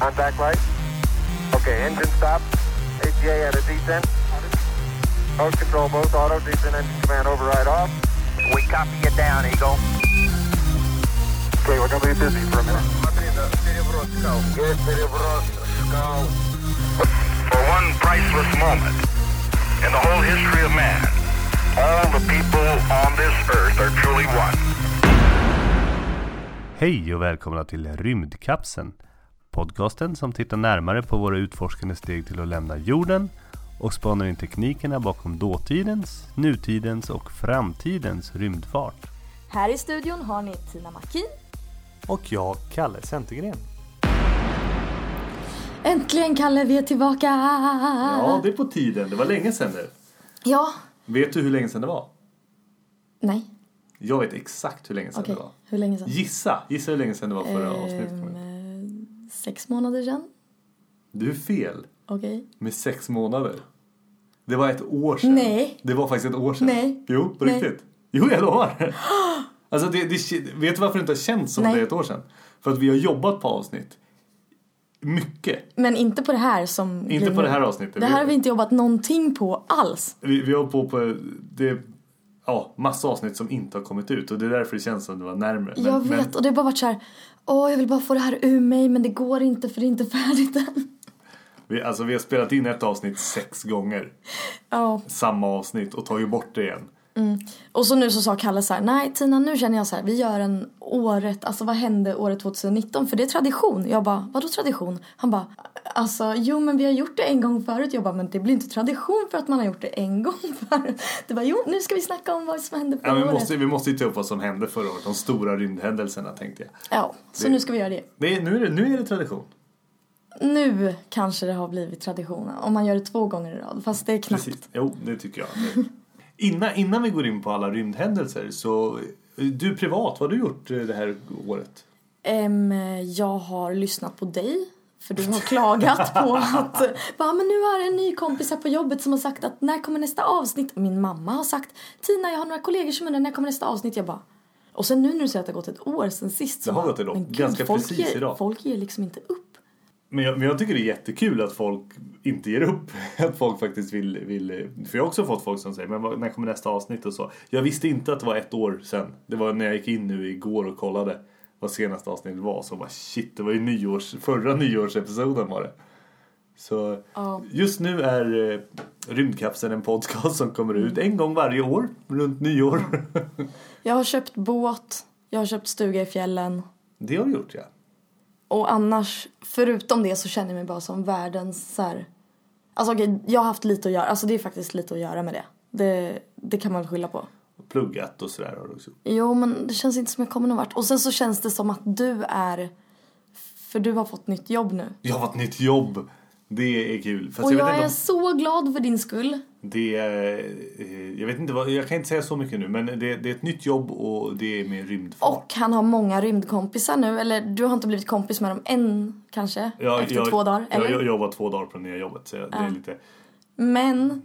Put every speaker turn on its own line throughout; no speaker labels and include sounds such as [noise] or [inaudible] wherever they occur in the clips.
Contact light. Okay, engine stop. ATA at a descent. Post control, both auto, descent engine command override off.
We copy you down, Eagle.
Okay, we're gonna be busy for a minute.
Смотри, да, переброс скал. Есть переброс скал.
For one priceless moment in the whole history of man, all the people on this earth are truly one.
Hej och välkomna till Rymdkapseln. Podcasten som tittar närmare på våra utforskande steg till att lämna jorden och spanar in teknikerna bakom dåtidens, nutidens och framtidens rymdfart.
Här i studion har ni Tina Mackin.
Och jag, Kalle Centergren.
Äntligen Kalle, vi är tillbaka!
Ja, det är på tiden. Det var länge sedan nu.
Ja.
Vet du hur länge sedan det var?
Nej,
Jag vet exakt hur länge sedan
okej.
det var.
Hur länge sedan?
Gissa! Gissa hur länge sedan det var förra avsnittet.
Ehm,
kom ut.
eh, sex månader sedan?
Du är fel.
Okej.
Med sex månader. Det var ett år sedan.
Nej.
Det var faktiskt ett år sedan.
Nej.
Jo, på
Nej.
riktigt. Jo, jag lovar. Alltså, det, det, vet du varför det inte har känts som
Nej.
det är ett år sedan? För att vi har jobbat på avsnitt. Mycket.
Men inte på det här som...
Inte
blir
på
nu.
det här avsnittet.
Det här har vi inte jobbat någonting på alls.
Vi, vi har på på det, ja, massa avsnitt som inte har kommit ut och det är därför det känns som det var närmre. Men-
jag vet
Men,
och det har bara varit så här. Åh, jag vill bara få det här ur mig men det går inte för det är inte [laughs] färdigt än.
vi, alltså, vi har spelat in ett avsnitt sex gånger,
Ja.
samma avsnitt och tagit bort det igen.
Och så nu så sa Kalle så här, nej Tina nu känner jag så här, vi gör en året, alltså vad hände året 2019? För det är tradition. Jag bara, vadå tradition? Han bara, alltså jo men vi har gjort det en gång förut. Jag bara, men det blir inte tradition för att man har gjort det en gång [laughs] förut. Det var jo nu ska vi snacka om vad som hände förra
Ja, men vi,
året.
måste, vi måste ju ta upp vad som hände förra året, de stora rymdhändelserna tänkte jag.
Ja, så
Det-
nu ska vi göra det.
Det är, nu, är det, nu är det tradition.
Nu kanske det har blivit tradition om man gör det två gånger i rad. Fast det är knappt.
Precis. Jo, det tycker jag. Det- Innan, innan vi går in på alla rymdhändelser så, eh, du privat, vad har du gjort eh, det här året?
Ehm, jag har lyssnat på dig. För du har klagat på att bara, men nu har en ny kompis här på jobbet som har sagt att när kommer nästa avsnitt? Min mamma har sagt Tina jag har några kollegor som undrar när kommer nästa avsnitt? Jag bara och sen nu när du säger att det har gått ett år sen sist. så
Det har
bara,
gått ett år.
men gud,
Ganska
folk
precis
ger,
idag.
Folk ger liksom inte upp.
Men jag, men jag tycker det är jättekul att folk inte ger upp. [laughs] Att folk faktiskt vill, vill... För jag har också fått folk som säger men vad- när kommer nästa avsnitt och så. Jag visste inte att det var ett år sedan. Det var när jag gick in nu igår och kollade vad senaste avsnittet var. Så bara shit, det var ju nyårs, [laughs] förra nyårsepisoden var det. Så
Ja.
just nu är eh, Rymdkapseln en podcast som kommer ut en gång varje år runt nyår. [laughs]
Jag har köpt båt, jag har köpt stuga i fjällen
Det har du gjort ja.
och annars förutom det så känner jag mig bara som världens så här. Alltså okej, jag har haft lite att göra. Alltså det är faktiskt lite att göra med det. Det, det kan man väl skylla på.
Pluggat och sådär har du också gjort.
Jo, men det känns inte som jag kommer någon vart. Och sen så känns det som att du är... För du har fått nytt jobb nu.
Jag har ett nytt jobb. Det är kul. Fast
och jag,
vet
är
inte om-
så glad för din skull.
Det är, eh, jag vet inte vad, jag kan inte säga så mycket nu men det, det är ett nytt jobb och det är med rymdfart.
Och han har många rymdkompisar nu. Eller du har inte blivit kompis med dem än kanske.
Jag-
efter
jag,
två dagar. Eller?
Jag, jag jobbar två dagar på det nya jobbet så jag, det är lite,
Men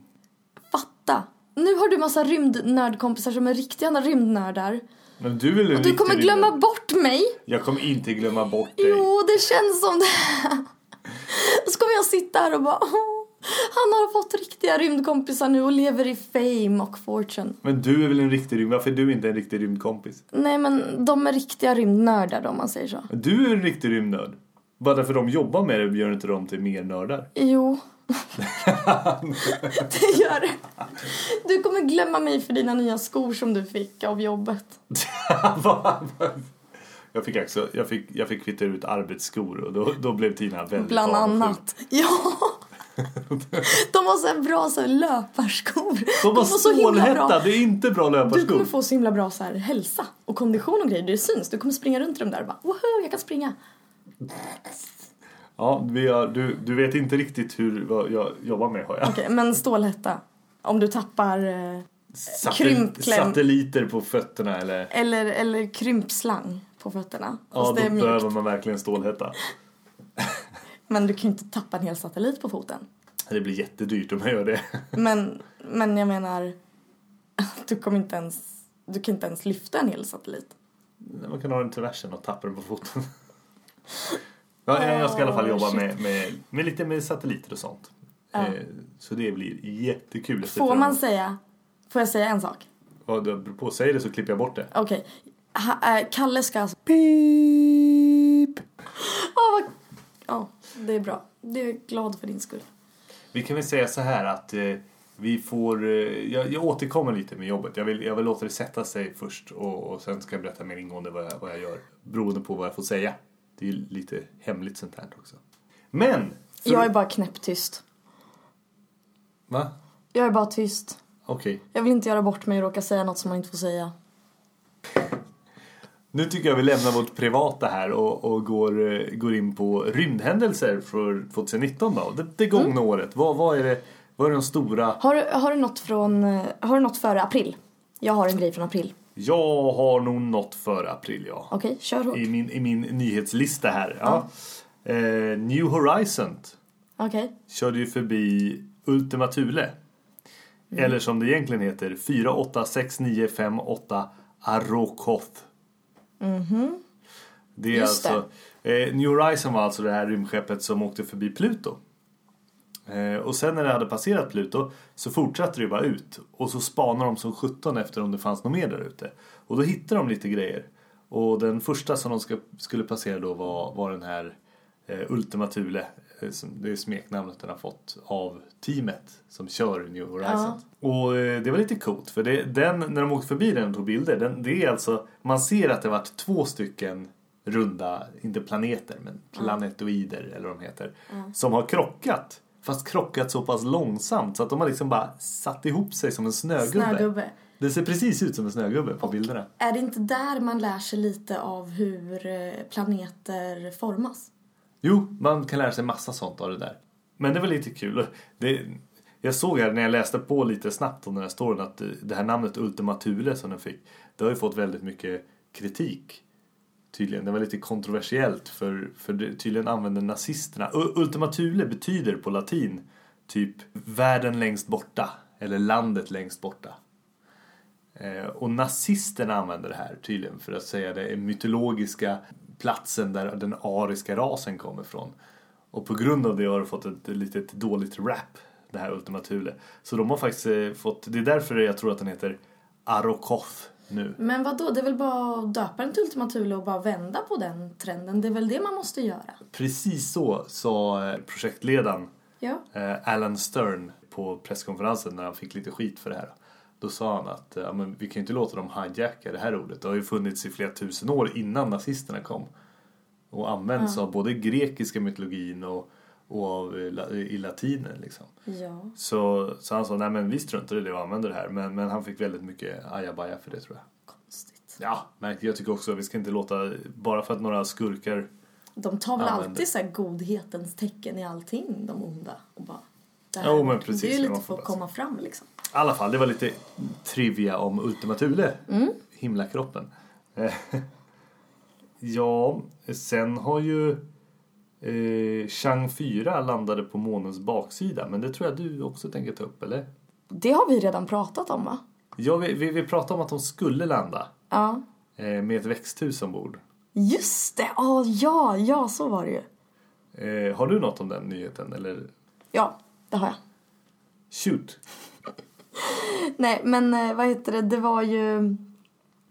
fatta. Nu har du massa rymdnördkompisar som är riktiga rymdnördar.
men du vill
Och du kommer glömma bort mig.
Jag kommer inte glömma bort dig.
Jo, det känns som det. Och Så kommer jag sitta här och bara... "Åh, Han har fått riktiga rymdkompisar nu och lever i fame och fortune.
Men du är väl en riktig rymd, varför är du inte en riktig rymdkompis?
Nej men de är riktiga rymdnördar då, om man säger så.
Du är en riktig rymdnörd. Bara därför de jobbar med det gör inte de till mer nördar. [laughs]
Jo. det gör det. Du kommer glömma mig för dina nya skor som du fick av jobbet.
Va? jag, fick också, jag, fick, jag fick kvitta ut arbetsskor och då, då blev Tina väldigt
Bland
avundsjuk.
annat. Ja.
[laughs]
De har så här bra så här löparskor.
De var
så himla bra-
stålhätta, det är inte bra löparskor.
Du kommer få så himla bra så här, hälsa och kondition och grejer. Det syns. Du kommer springa runt i dem där och bara woho, jag kan springa.
Ja, vi har, du, du vet inte riktigt hur vad jag jobbar med har jag.
Okej, men stålhätta. Om du tappar eh, krympkläm.
Satelliter på fötterna eller?
eller, eller krympslang på fötterna.
Ja,
Fast det är
då behöver
mjukt.
man verkligen stålhätta.
Men du kan ju inte tappa en hel satellit på foten.
Det blir jättedyrt om jag gör det. [laughs]
Men, men jag menar, [laughs] du kommer inte ens, du kan inte ens lyfta en hel satellit.
Man kan ha den till versen och tappa den på foten. Ja, jag- jag ska i alla fall jobba
Ah, shit.
med, med, med lite med satelliter och sånt. Eh, Så det blir jättekul. Jag ser
Får
fram
man
emot-
säga... Får jag säga en sak?
Ja, det beror på. Säg det så klipper jag bort det.
Okej. Ha- eh, Kalle ska alltså... [laughs]
Beep.
Åh, vad... Ja, det är bra. Det är jag glad för din skull.
Vi kan väl säga så här att eh, vi får... Eh, jag, jag återkommer lite med jobbet. Jag vill, jag vill låta det sätta sig först och, och sen ska jag berätta mer ingående vad jag, vad jag gör. Beroende på vad jag får säga. Det är ju lite hemligt sånt här också. Men! för-
Jag är bara knäpptyst.
Va?
Jag är bara tyst.
Okej.
Jag vill inte göra bort mig och råka säga något som man inte får säga.
Nu tycker jag vi lämnar vårt privata här och, och går, eh, går in på rymdhändelser för 2019 då. Det, det gångna
Mm.
året. Vad, vad, är det, vad är de stora?
Har, du- har, du något från, eh, har du något före april? Jag har en grej från april.
Jag har nog något för april ja.
Okej, kör hårt.
I, min, I min nyhetslista här. Ja. Eh, New Horizon
Okej.
körde ju förbi Ultima Thule. Eller som det egentligen heter 486958 Arokoth. Mhm. Det är
Just
alltså, Eh, New Horizon var alltså det här rymdskeppet som åkte förbi Pluto. Eh, och sen när det hade passerat Pluto så fortsatte det bara ut. Och så spanar de som 17 efter om det fanns något mer där ute. Och då hittar de lite grejer. Och den första som de ska, skulle passera då var, var den här eh, Ultima Thule. eh, som- Det är smeknamnet den har fått av teamet som kör New Horizons. Och eh, det var lite coolt för det, den, när de åkte förbi den och tog bilder, den, det är alltså, man ser att det varit två stycken runda, inte planeter, men planetoider eller vad de heter, som har krockat. Fast krockat så pass långsamt så att de har liksom bara satt ihop sig som en snögubbe.
Snögubbe.
Det ser precis ut som en snögubbe på bilderna.
Är det inte där man lär sig lite av hur eh, planeter formas?
Jo, man kan lära sig massa sånt av det där. Men det var lite kul. Det, jag såg här när jag läste på lite snabbt om den här storyn att eh, det här namnet Ultima Thule som den fick, det har ju fått väldigt mycket kritik. Tydligen, det var lite kontroversiellt för, för det, tydligen använder nazisterna. U- Ultima Thule betyder på latin typ världen längst borta eller landet längst borta. Eh, och nazisterna använder det här tydligen för att säga det är mytologiska platsen där den ariska rasen kommer ifrån. Och på grund av det har det fått ett litet dåligt rap, det här Ultima Thule. Så de har faktiskt eh, fått, det är därför jag tror att den heter Arokoff nu.
Men vad då? det är väl bara att döpa den till Ultima Thule och bara vända på den trenden? Det är väl det man måste göra?
Precis så sa eh, projektledaren
Ja.
eh, Alan Stern på presskonferensen när han fick lite skit för det här. Då sa han att eh, ja, men vi kan ju inte låta dem hijacka det här ordet. Det har ju funnits i flera tusen år innan nazisterna kom. Och använts av både grekiska mytologin och, och av, eh, la- i latinen. Liksom.
Ja.
Så, så han sa nej men vi struntar i det och använder det här. Men, men han fick väldigt mycket ajabaja för det tror jag.
Konstigt.
Ja, märkte jag tycker också att vi ska inte låta, bara för att några skurkar
De tar väl
Använder.
alltid så här godhetens tecken i allting, de onda. Och bara, det,
Jo, men precis,
det är
det
ju lite
man får
för att
läsa.
komma fram liksom.
I alla fall, det var lite trivia om Ultima Thule. Himlakroppen. Eh, [laughs] ja, sen har ju eh, Chang 4 landade på månens baksida. Men det tror jag du också tänker ta upp, eller?
Det har vi redan pratat om va?
Ja, vi, vi, vi pratade om att de skulle landa
Ja.
eh, med ett växthus ombord.
Just det! Ja, ja, ja, så var det ju.
Eh, har du något om den nyheten, eller?
Ja, det har jag.
Shoot!
Nej, men eh, vad heter det, det var ju...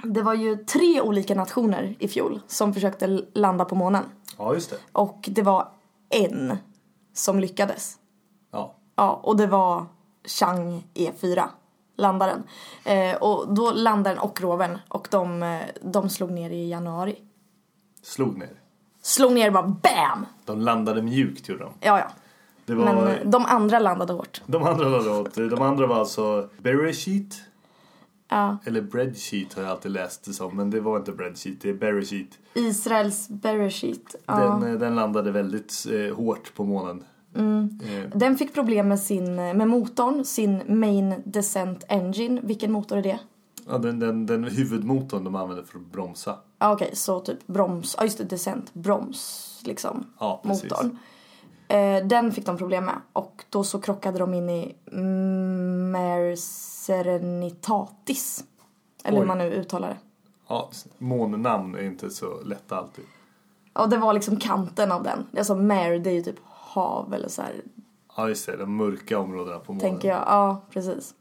Det var ju tre olika nationer i fjol som försökte l- landa på månen.
Ja, just det.
Och det var en som lyckades.
Ja.
Ja, och det var Chang E4, landaren. Eh, och då landaren och rovern och de, eh, de slog ner i januari.
Slog ner.
Slog ner bara BAM!
De landade mjukt, gjorde de.
Ja, ja.
Det var...
Men eh, de andra landade hårt.
De andra var, åt, de andra var alltså Bereshit.
Ja.
Eller Breadsheet har jag alltid läst det som, men det var inte Breadsheet, det är Bereshit.
Israels Bereshit. Ja.
Den, eh, den landade väldigt eh, hårt på månen.
Mm.
Eh,
Den fick problem med, sin, med motorn, sin main descent engine. Vilken motor är det?
Ja, den, den, den huvudmotorn de använde för att bromsa.
Ja, Okej, så typ broms. Ja, just det, descent. Broms, liksom.
Ja, precis.
motorn. Eh, den fick de problem med. Och då så krockade de in i Mare Serenitatis. Eller hur
Oj.
man nu uttalar det.
Ja, månnamn är inte så lätta alltid.
Ja, det var liksom kanten av den. Det är som Mare, det är ju typ hav eller så här,
Ja, just det. De mörka områdena på månen.
tänker jag. Ja, precis.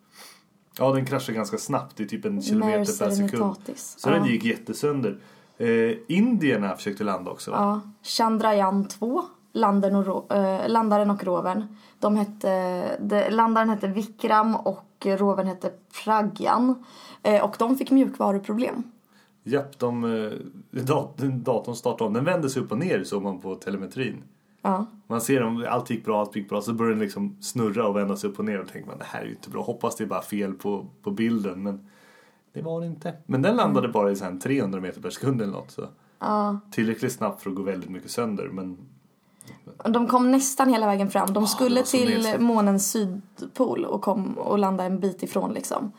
Ja, den kraschar ganska snabbt. Det är typ en kilometer per sekund.
Serenitatis.
Så den gick jättesönder. Eh, Indierna försökte landa också. va?
Ja. Chandrayaan 2, landaren och, ro- eh, landaren och rovern. De hette, de, landaren hette Vikram och rovern hette Pragyan. Eh, och de fick mjukvaruproblem.
Japp, de, eh, dat- datorn startade om. Den vände sig upp och ner såg man på telemetrin.
Ja.
Man ser dem, allt gick bra, allt gick bra. Så börjar den liksom snurra och vända sig upp och ner. Och tänker man, det här är ju inte bra. Hoppas det är bara fel på, på bilden. Men det var det inte. Men den landade bara i så här 300 meter per sekund eller något. Så. Tillräckligt snabbt för att gå väldigt mycket sönder. Men
De kom nästan hela vägen fram. De skulle
Ah, var så
till
nedsläppt.
månens sydpol och kom och landade en bit ifrån liksom.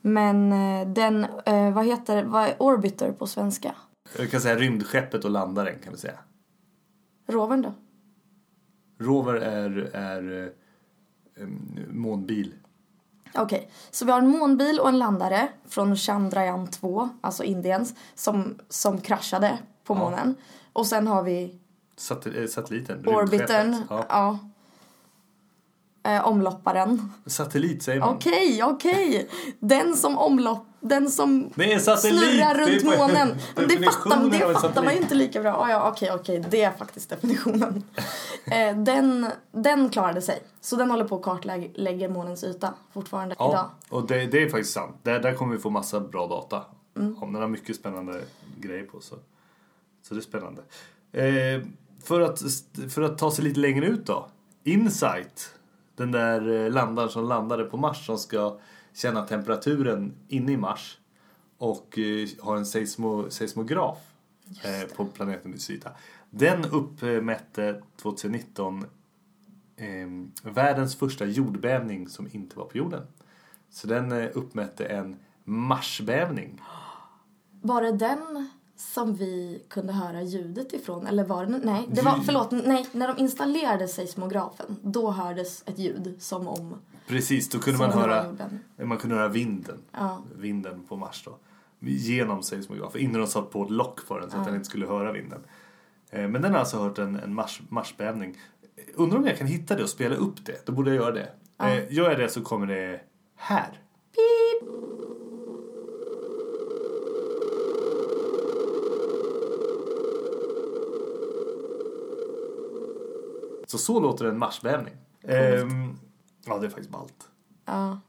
Men eh, den, eh, vad heter, vad är orbiter på svenska?
jag kan säga rymdskeppet och landaren kan vi säga.
Rovern då?
Rover är, är eh, em, månbil.
Okej, så vi har en månbil och en landare från Chandrayaan 2, alltså Indiens, som, som kraschade på månen. Och sen har vi
Sat- eh, satelliten.
orbitern,
rymdskeppet.
ja.
Ja.
Eh, omlopparen.
Satellit säger man.
Okej, okej! Den som omlopp... Den som
Det är satellit!
snurrar
Det är
runt
på-
månen. Men Det fattar,
definitionen av en
det fattar
satellit.
man ju inte lika bra. Ah, ja, okej, okej, det är faktiskt definitionen. eh, den, den klarade sig. Så den håller på att kartlägger månens yta fortfarande idag.
Ja, och det, det är faktiskt sant. Där, där kommer vi få massa bra data. Om den har mycket spännande grejer på så. Så det är spännande. Eh, för, att, för att ta sig lite längre ut då. Insight. Den där eh, landaren som landade på Mars som ska känna temperaturen inne i Mars. Och eh, har en seismo, seismograf eh, på planetens yta. Den uppmätte 2019 eh, världens första jordbävning som inte var på jorden. Så den eh, uppmätte en marsbävning.
Var det den som vi kunde höra ljudet ifrån? Eller var det... Nej, det var, förlåt. Nej, när de installerade seismografen, då hördes ett ljud som om...
Precis, då kunde
Som
man
det var
höra,
jorden.
man kunde höra vinden.
Ja.
Vinden på Mars då. Genom seismografen, innan de satt på ett lock för den så att den inte skulle höra vinden. Eh, Men den har alltså hört en, en mars, marsbävning. Eh, Undrar om jag kan hitta det och spela upp det? Då borde jag göra det. Eh, Gör jag det så kommer det här. Så så låter en marsbävning. Ehm, ja, det är faktiskt ballt.
Ja.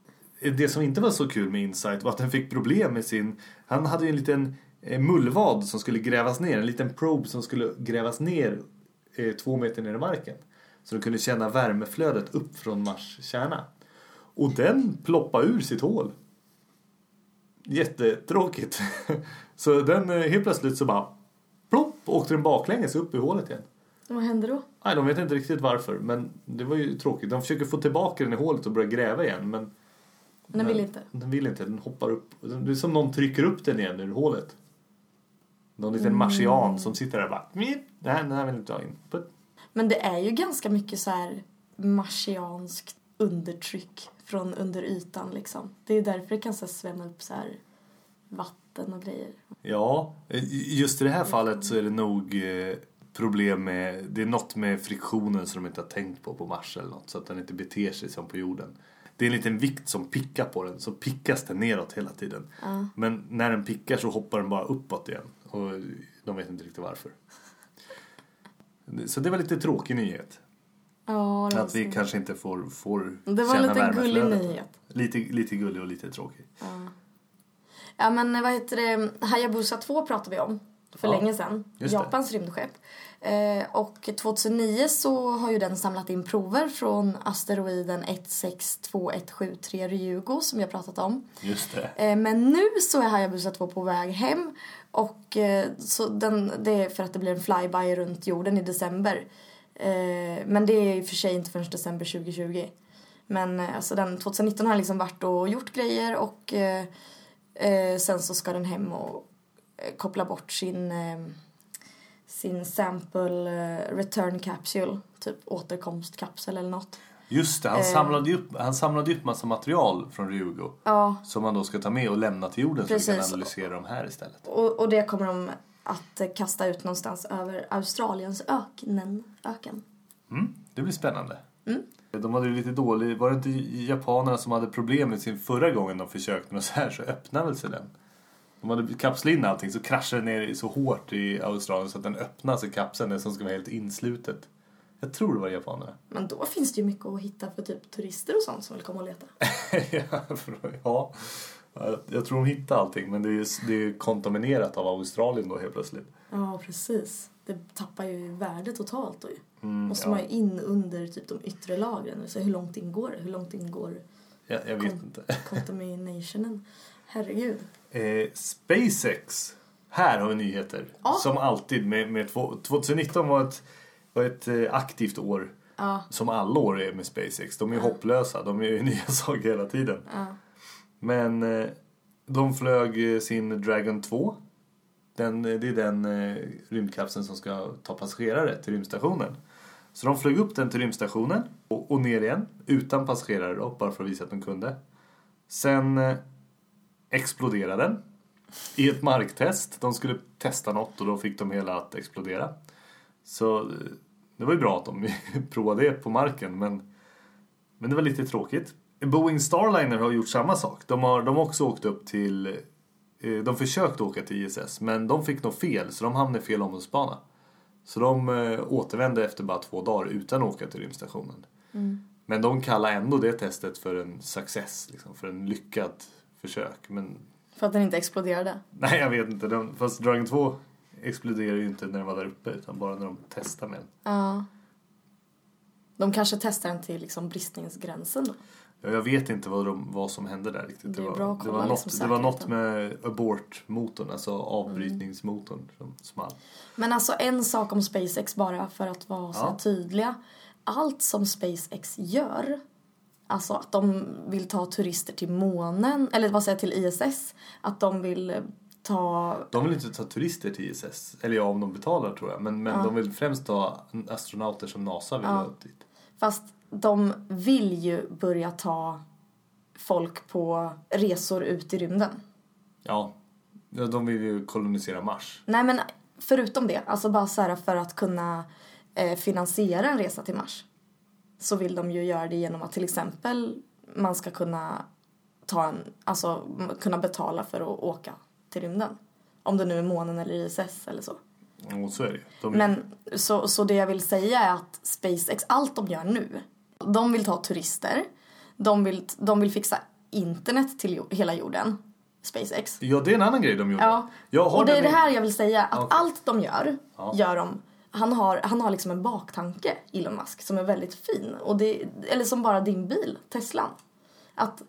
Det som inte var så kul med Insight var att den fick problem med sin... Han hade ju en liten eh, mullvad som skulle grävas ner, en liten probe som skulle grävas ner eh, två meter ner i marken. Så de kunde känna värmeflödet upp från Mars kärna. Och den ploppade ur sitt hål. Jättetråkigt. [laughs] så den eh, helt plötsligt så bara plopp åkte den baklänges upp i hålet igen.
Vad hände då?
Nej, de vet inte riktigt varför, men det var ju tråkigt. De försöker få tillbaka den i hålet och börja gräva igen, men
Den vill inte.
den vill inte. Den hoppar upp. Det är som någon trycker upp den igen ur hålet. Någon
Mm.
liten marsian som sitter där och bara... "Mip, Nej, den här vill inte ha in. Put.
Men det är ju ganska mycket så här marsianskt undertryck från under ytan liksom. Det är därför det kan så här svämma upp så här vatten och grejer.
Ja, eh, just i det här fallet så är det nog eh, problem med... Det är något med friktionen som de inte har tänkt på på Mars eller något. Så att den inte beter sig som på jorden. Det är en liten vikt som pickar på den, så pickas den neråt hela tiden. Men när den pickar så hoppar den bara uppåt igen. Och de vet inte riktigt varför. Så det var lite tråkig nyhet.
Ja, det var,
Att vi kanske inte får, får
det var en
känna
liten gullig
värmeflödet.
nyhet.
Lite, lite gullig och lite tråkig.
Ja men vad heter det, Hayabusa 2 pratade vi om för
Ja,
länge sedan.
just det.
Japans rymdskepp. Eh, och 2009 så har ju den samlat in prover från asteroiden 162173 Ryugu som jag pratat om.
Just det.
Eh, Men nu så är Hayabusa 2 på väg hem och eh, så den, det är för att det blir en flyby runt jorden i december. Eh, Men det är i och för sig inte förrän december 2020. Men eh, alltså den 2019 har liksom varit och gjort grejer och eh, eh, sen så ska den hem och eh, koppla bort sin, eh, sin sample eh, return capsule, typ återkomstkapsel eller något.
Just det,
Eh.
han, samlade ju upp, han samlade ju upp massa material från Ryugo.
Ja,
Som man då ska ta med och lämna till jorden så vi kan
Precis.
analysera dem här istället.
Och, och det kommer de att eh, kasta ut någonstans över Australiens öknen, öken.
Det blir spännande.
Mm.
De hade ju lite dålig... Var det inte japanerna som hade problem med sin förra gången de försökte med så här så öppnade väl sig den? De hade kapslat in allting så kraschade den ner i- så hårt i Australien så att den öppnade sig kapseln den som ska vara helt inslutet. Jag tror det var japanerna. [laughs]
Men då finns det ju mycket att hitta för typ turister och sånt som vill komma och leta.
ja, för- ja. Jag tror de hittade allting men det är ju det är ju kontaminerat av Australien då helt plötsligt.
Ja, precis. Det tappar ju värde totalt då ju. Måste man ju in under typ de yttre lagren. Så hur långt in går det? Hur långt in går
Jag, jag vet
kon-
inte.
contaminationen? Herregud.
Eh, SpaceX. Här har vi nyheter.
Ja.
Som alltid. Med, med två, 2019 var ett, var ett eh, aktivt år. Som alla år är med SpaceX. De är hopplösa. De gör ju [laughs] nya saker hela tiden. Men eh, de flög eh, sin Dragon 2. Den, eh, det är den eh, rymdkapseln som ska ta passagerare till rymdstationen. Så de flög upp den till rymdstationen och, och ner igen. Utan passagerare då, bara för att visa att de kunde. Sen eh, exploderade den i ett marktest. De skulle testa något och då fick de hela att explodera. Så eh, det var ju bra att de [laughs] provade det på marken men, men det var lite tråkigt. Boeing Starliner har gjort samma sak. De har, de har också åkt upp till... eh, De försökte åka till ISS men de fick nog fel så de hamnade i fel omloppsbana. Så de eh, återvände efter bara två dagar utan att åka till rymdstationen. Men de kallar ändå det testet för en success, liksom, för en lyckad försök. Men
För att den inte exploderade.
Nej, jag vet inte. Den, fast Dragon 2 exploderar ju inte när den var där uppe utan bara när de testar med den.
De kanske testar den till liksom bristningsgränsen då.
Ja, jag vet inte vad, de, vad som hände där riktigt.
Det är bra att
det,
kolla
var
liksom
något, det var något
säkerheten.
med abortmotorn, alltså avbrytningsmotorn som small.
Men alltså en sak om SpaceX bara för att vara så här
Ja.
tydliga. Allt som SpaceX gör, alltså att de vill ta turister till månen, eller vad säger jag, till ISS, att de vill eh, ta
De vill inte ta turister till ISS. Eller ja, om de betalar tror jag. Men, men de vill främst ta astronauter som NASA vill ha upp dit.
Fast de vill ju börja ta folk på resor ut i rymden.
Ja. Ja, de vill ju kolonisera Mars.
Nej men förutom det, alltså bara så här för att kunna eh, finansiera en resa till Mars. Så vill de ju göra det genom att till exempel man ska kunna ta en, alltså m- kunna betala för att åka till rymden. Om det nu är månen eller ISS eller så.
Och så är det ju. De,
Men så, så det jag vill säga är att SpaceX, allt de gör nu, de vill ta turister, de vill, de vill fixa internet till jo- hela jorden, SpaceX.
Ja, det är en annan grej de gjorde.
Ja.
Jag har
Och det är
den
det
i-
här jag vill säga, att
Okej.
allt de gör, gör de han har, han har liksom en baktanke, Elon Musk, som är väldigt fin. Och det, eller som bara din bil, Teslan. Att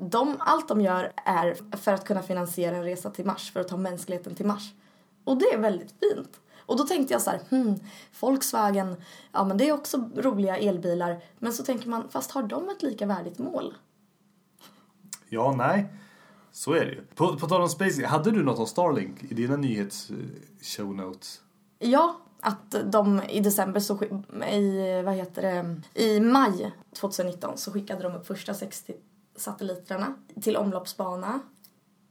de, allt de gör är för att kunna finansiera en resa till Mars, för att ta mänskligheten till Mars. Och det är väldigt fint. Och då tänkte jag så här, hmm, Volkswagen, ja men det är också roliga elbilar. Men så tänker man, fast har de ett lika värdigt mål?
Ja, nej. Så är det ju. På, på tal om SpaceX, hade du något om Starlink i dina nyhets eh, show notes?
Ja, att de i december så skick- i vad heter det i maj 2019 så skickade de upp första 60 satelliterna till omloppsbana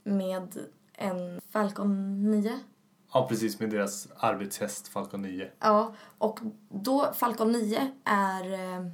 med en Falcon 9.
Ja, precis. Med deras arbetshäst Falcon 9.
Ja, och då Falcon 9 är eh,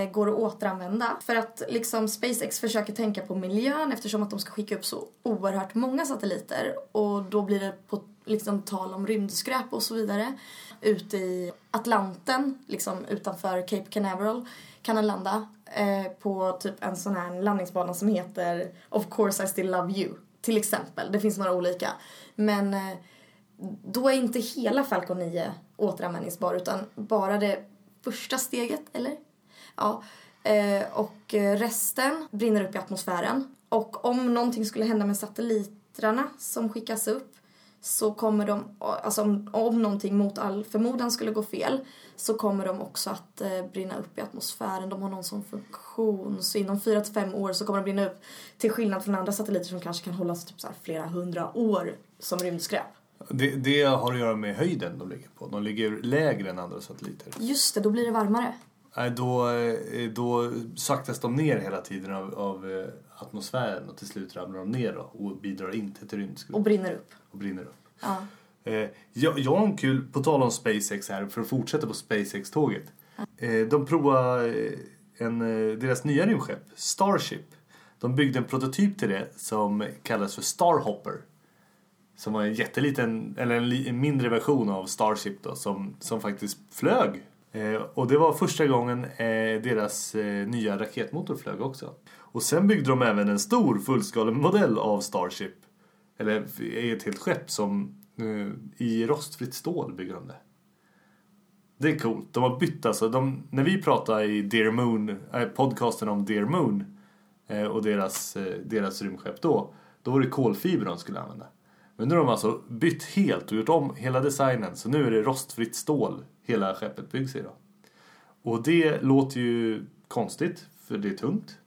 eh, går att återanvända för att liksom SpaceX försöker tänka på miljön eftersom att de ska skicka upp så oerhört många satelliter och då blir det på liksom tal om rymdskräp och så vidare ute i Atlanten liksom utanför Cape Canaveral kan den landa eh, på typ en sån här landningsbana som heter Of course I still love you till exempel. Det finns några olika. Men eh, då är inte hela Falcon 9 återanvändningsbar utan bara det första steget, eller? Ja. Eh, och eh, resten brinner upp i atmosfären. Och om någonting skulle hända med satelliterna som skickas upp så kommer de, alltså om, om någonting mot all förmodan skulle gå fel så kommer de också att eh, brinna upp i atmosfären. De har någon sån funktion så inom 4 till 5 år så kommer de brinna upp till skillnad från andra satelliter som kanske kan hållas typ så här flera hundra år som rymdskräp.
Det, det har att göra med höjden de ligger på. De ligger lägre än andra satelliter.
Just det, då blir det varmare.
Nej, Då, eh, då saktas de ner hela tiden av, av eh, atmosfären och till slut ramlar de ner då, och bidrar inte till rymdskrotet
Och brinner upp.
och brinner upp.
Ja.
Eh, jag, jag har en kul, på tal om SpaceX här, för att fortsätta på SpaceX-tåget. Eh, de provar eh, en, eh, deras nya rymdskepp, Starship. De byggde en prototyp till det som kallas för Starhopper. Som var en jätteliten, eller en, li, en mindre version av Starship då, som, som faktiskt flög. Eh, och det var första gången eh, deras eh, nya raketmotor flög också. Och sen byggde de även en stor fullskalig modell av Starship. Eller i ett helt skepp som eh, i rostfritt stål bygger de det. Det är coolt. De har bytt alltså. De, när vi pratade i Dear Moon, eh, podcasten om Dear Moon eh, och deras, eh, deras rymdskepp då. Då var det kolfiber de skulle använda. Men nu har de alltså bytt helt och gjort om hela designen. Så nu är det rostfritt stål hela skeppet byggs i då. Och det låter ju konstigt för det är tungt.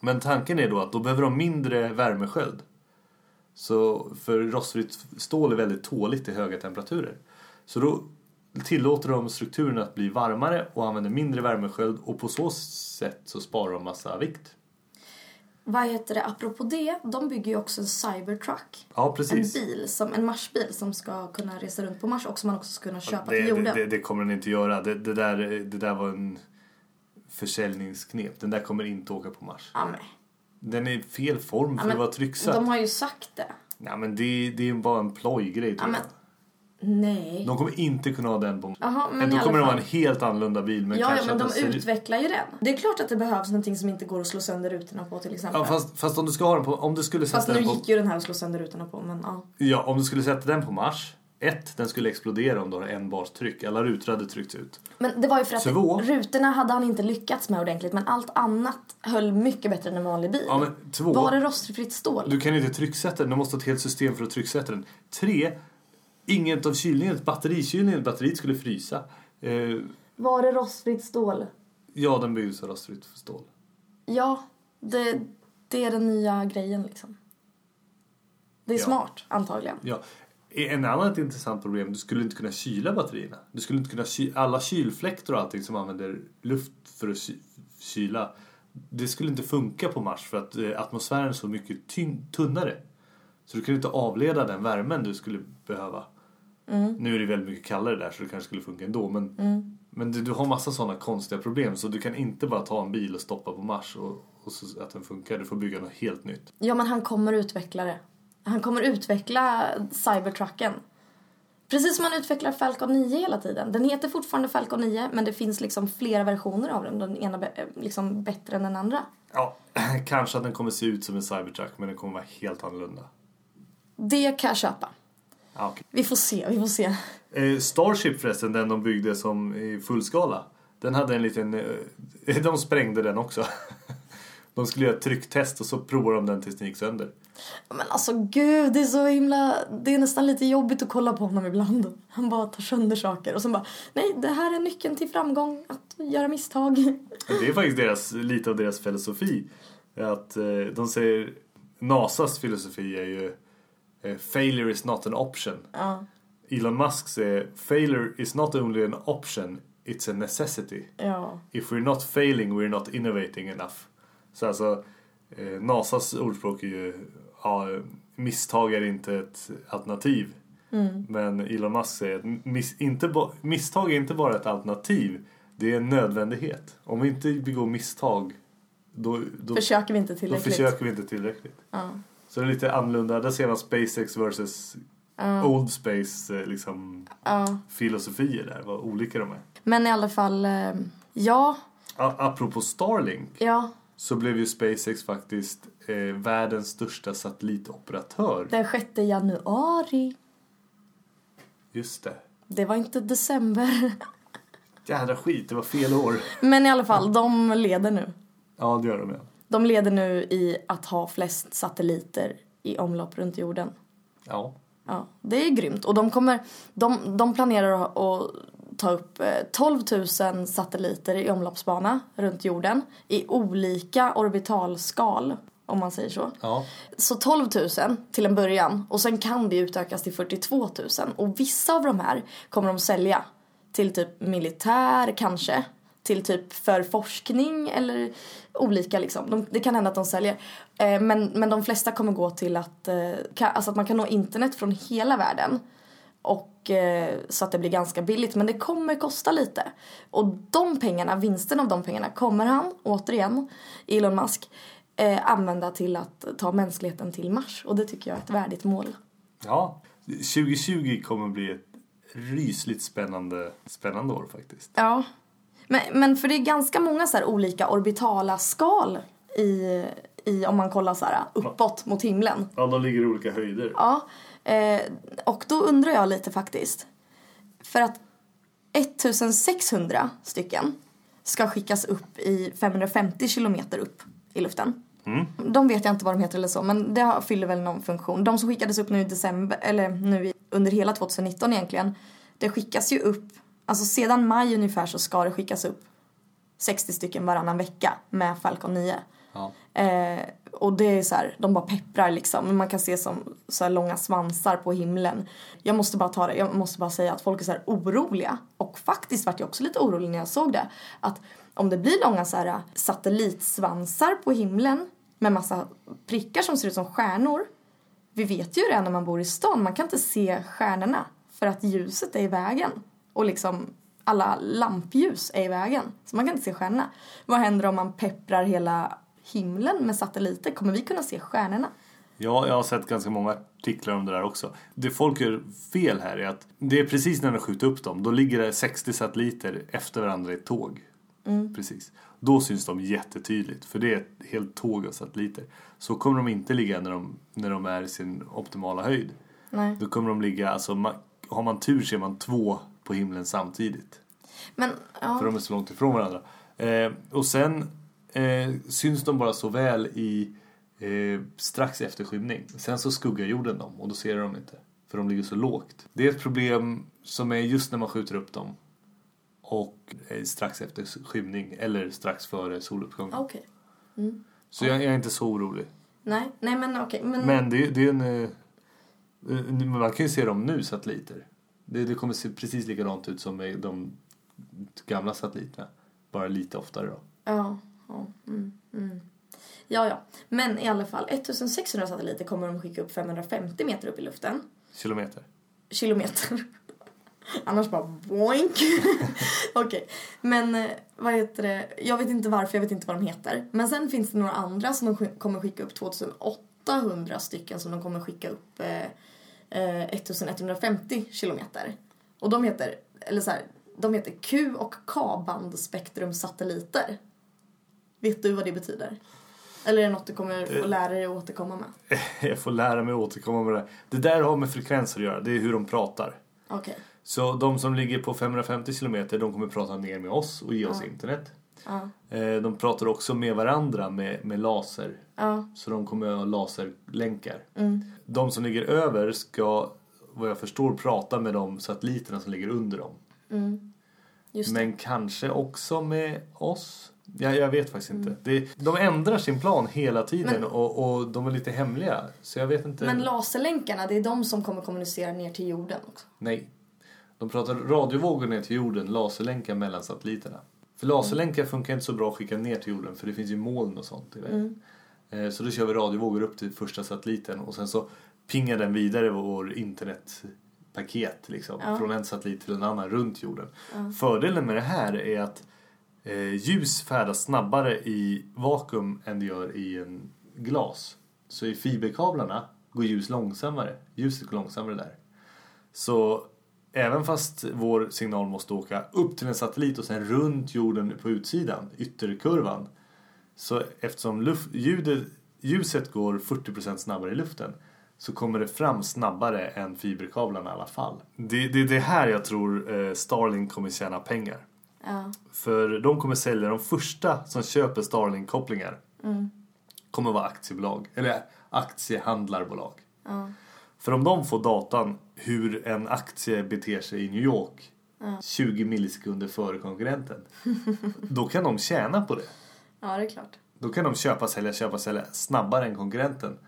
Men tanken är då att då behöver de mindre värmesköld. Så för rostfritt stål är väldigt tåligt till höga temperaturer. Så då tillåter de strukturen att bli varmare och använder mindre värmesköld och på så sätt så sparar de massa vikt.
Vad heter det, apropå det, de bygger ju också en cybertruck.
Ja,
En
precis.
bil, som, en Marsbil som ska kunna resa runt på Mars och som man också ska kunna köpa
Det,
till
det,
jorden.
det, det kommer den inte göra. Det, det, där, det där var en försäljningsknep. Den där kommer inte åka på Mars.
Ja, men,
Den är i fel form för
ja, men,
att vara trycksatt.
De har ju sagt det.
Nej men det, det är bara en plojgrej tror
Ja, men-
jag.
Nej.
De kommer inte kunna ha den på
Jaha, men i
Då
alla
kommer det vara
fall.
en helt annorlunda bil. Men
Ja, ja,
kanske
men
att
de
den ser-
utvecklar ju den. Det är klart att det behövs någonting som inte går att slå sönder rutorna på till exempel.
Ja, fast, fast om du ska ha den på... Om du skulle sätta
Fast nu
den på...
gick ju den här att slå sönder rutorna på, men ja.
Ja, om du skulle sätta den på Mars. Ett, den skulle explodera om du har en bars tryck. Alla rutor hade tryckts ut.
Men det var ju för att
Två.
rutorna hade han inte lyckats med ordentligt, men allt annat höll mycket bättre än en vanlig bil.
Ja, men två.
Var det rostfritt stål?
Du kan inte trycksätta den, du måste ha ett helt system för att trycksätta den. Tre, inget av kylningen, batterikylningen, batteriet skulle frysa. Eh,
Var det rostfritt stål?
ja, den byggdes av rostfritt stål.
Ja, det, det är den nya grejen liksom. Det är
Ja.
smart, antagligen.
Ja. En annat intressant problem, du skulle inte kunna kyla batterierna. Du skulle inte kunna ky- alla kylfläktar och allting som använder luft för att ky- kyla. Det skulle inte funka på Mars för att eh, atmosfären är så mycket tyn- tunnare. Så du kan inte avleda den värmen du skulle behöva. Nu är det väldigt mycket kallare där så det kanske skulle funka ändå. Men, men du, du har massa sådana konstiga problem så du kan inte bara ta en bil och stoppa på Mars och, och så att den funkar. Du får bygga något helt nytt.
Ja, men han kommer utveckla det. Han kommer utveckla cybertrucken. Precis som han utvecklar Falcon 9 hela tiden. Den heter fortfarande Falcon 9, men det finns liksom flera versioner av den. Den ena be- eh, liksom bättre än den andra.
Ja, [clears throat] kanske att den kommer se ut som en cybertruck men den kommer vara helt annorlunda.
Det kan jag köpa.
Ja, okej.
Vi får se, vi får se.
eh, Starship förresten, den de byggde som i fullskala. Den hade en liten... Eh, [laughs] de sprängde den också. [laughs] De skulle göra ett trycktest och så provade de den tills den gick sönder.
Men alltså gud, det är så himla... Det är nästan lite jobbigt att kolla på honom ibland. Han bara tar sönder saker och sen bara, nej, det här är nyckeln till framgång, att göra misstag.
Det är faktiskt deras, lite av deras filosofi. Att eh, de säger... Nasas filosofi är ju eh, failure is not an option.
Ja,
Elon Musk säger failure is not only an option, it's a necessity.
ja.
If we're not failing, we're not innovating enough. Så alltså, eh, NASAs ordspråk är ju ja, misstag är inte ett alternativ.
Mm.
Men Elon Musk säger att mis, inte, ba- misstag är inte bara ett alternativ, det är en nödvändighet. Om vi inte begår misstag, då, då,
Försöker vi inte
då
tillräckligt.
försöker vi inte tillräckligt.
Ja.
Så det är lite annorlunda, där ser man SpaceX versus Old Space eh, liksom,
Ja.
filosofier där, vad olika de är.
Men i alla fall, eh, ja,
A- apropå Starlink.
ja.
så blev ju SpaceX faktiskt eh, världens största satellitoperatör.
Den 6 januari.
Just det.
Det var inte december. [laughs]
Jädra skit, det var fel år.
Men i alla fall, de leder nu.
Ja, det gör de ja.
De leder nu i att ha flest satelliter i omlopp runt jorden.
Ja.
Ja, det är grymt. Och de, kommer, de, de planerar att- att ta upp eh, 12 000 satelliter i omloppsbana runt jorden i olika orbitalskal, om man säger så.
Ja.
Så 12 000 till en början och sen kan det utökas till 42 000 och vissa av de här kommer de sälja till typ militär kanske, till typ för forskning eller olika liksom. De, det kan hända att de säljer. Eh, men, men de flesta kommer gå till att, eh, ka, alltså att man kan nå internet från hela världen Och eh, så att det blir ganska billigt. Men det kommer kosta lite. Och de pengarna, vinsten av de pengarna kommer han, återigen, Elon Musk, eh, använda till att ta mänskligheten till Mars. Och det tycker jag är ett värdigt mål.
Ja. 2020 kommer bli ett rysligt spännande, spännande år faktiskt.
Ja. Men, men för det är ganska många så här olika orbitala skal i, i om man kollar så här uppåt mot himlen.
Ja, de ligger i olika höjder.
Ja. Eh, och då undrar jag lite faktiskt. För att 1600 stycken ska skickas upp i 550 kilometer upp i luften. De vet jag inte vad de heter eller så, men det har- fyller väl någon funktion. De som skickades upp nu i december, eller nu i, under hela 2019 egentligen, det skickas ju upp, alltså sedan maj ungefär så ska det skickas upp 60 stycken varannan vecka med Falcon 9. Eh, och det är så här, de bara pepprar liksom. Men Man kan se som så här långa svansar på himlen. Jag måste bara ta det, jag måste bara säga att folk är så här oroliga. Och faktiskt vart jag också lite orolig när jag såg det. Att om det blir långa så här äh, satellitsvansar på himlen med massa prickar som ser ut som stjärnor. Vi vet ju det när man bor i stan, man kan inte se stjärnorna för att ljuset är i vägen. Och liksom alla lampljus är i vägen, så man kan inte se stjärnorna. Vad händer om man pepprar hela himlen med satelliter? Kommer vi kunna se stjärnorna?
Ja, jag har sett ganska många artiklar om det där också. Det folk gör fel här är att det är precis när de skjuter upp dem. Då ligger det 60 satelliter efter varandra i ett tåg. Precis. Då syns de jättetydligt för det är ett helt tåg av satelliter. Så kommer de inte ligga när de, när de är i sin optimala höjd.
Nej.
Då kommer de ligga, alltså man, har man tur ser man två på himlen samtidigt.
Men,
För
ja.
de är så långt ifrån varandra. Eh, och sen eh, syns de bara så väl i eh, strax efter skymning. Sen så skuggar jorden dem och då ser de inte. För de ligger så lågt. Det är ett problem som är just när man skjuter upp dem. Och eh, strax efter skymning eller strax före soluppgången.
Okej.
Så jag, jag är inte så orolig.
Nej, nej men okej. Men,
Men det, det är en... eh, eh, Man kan ju se dem nu, satelliter. Det, det kommer se precis likadant ut som med de gamla satelliterna. Bara lite oftare då.
Ja, ja, mm, mm. ja, ja. Men i alla fall, 1600 satelliter kommer de skicka upp 550 meter upp i luften.
Kilometer.
kilometer. Annars bara boink. Okej. Men eh, vad heter det? Jag vet inte varför, jag vet inte vad de heter. Men sen finns det några andra som de sk- kommer skicka upp 2800 stycken som de kommer skicka upp eh, eh, 1150 kilometer. Och de heter, eller så här, de heter Q och K-bandspektrumsatelliter. Vet du vad det betyder? Eller är det något du kommer få lära dig att återkomma med?
[laughs] Jag får lära mig att återkomma med det där. Det där har med frekvenser att göra. Det är hur de pratar.
Okej.
Så de som ligger på 550 kilometer de kommer prata ner med oss och ge oss internet. Eh, De pratar också med varandra med, med laser.
Ja.
Så de kommer ha laserlänkar. De som ligger över ska, vad jag förstår, prata med de satelliterna som ligger under dem.
Just det.
Men kanske också med oss. Ja, jag vet faktiskt inte. Det, de ändrar sin plan hela tiden och, och de är lite hemliga. Så jag vet inte.
Men laserlänkarna, det är de som kommer kommunicera ner till jorden också.
Nej. De pratar radiovågor ner till jorden, laserlänkar mellan satelliterna. För laserlänkar funkar inte så bra att skicka ner till jorden för det finns ju moln och sånt i vägen. Eh, Så då kör vi radiovågor upp till första satelliten och sen så pingar den vidare vår internetpaket liksom, från en satellit till en annan runt jorden. Fördelen med det här är att eh, ljus färdas snabbare i vakuum än det gör i en glas. Så i fiberkablarna går ljus långsammare. Ljuset går långsammare där. Så även fast vår signal måste åka upp till en satellit och sen runt jorden på utsidan, ytterkurvan. Så eftersom luft, ljudet, ljuset går 40% snabbare i luften så kommer det fram snabbare än fiberkablarna i alla fall. Det, det är det här jag tror eh, Starlink kommer tjäna pengar.
Ja.
För de kommer sälja, de första som köper Starlink-kopplingar kommer vara aktiebolag, eller aktiehandlarbolag. För om de får datan hur en aktie beter sig i New York 20 millisekunder före konkurrenten. Då kan de tjäna på det.
ja, det är klart.
Då kan de köpa, sälja, köpa, sälja snabbare än konkurrenten.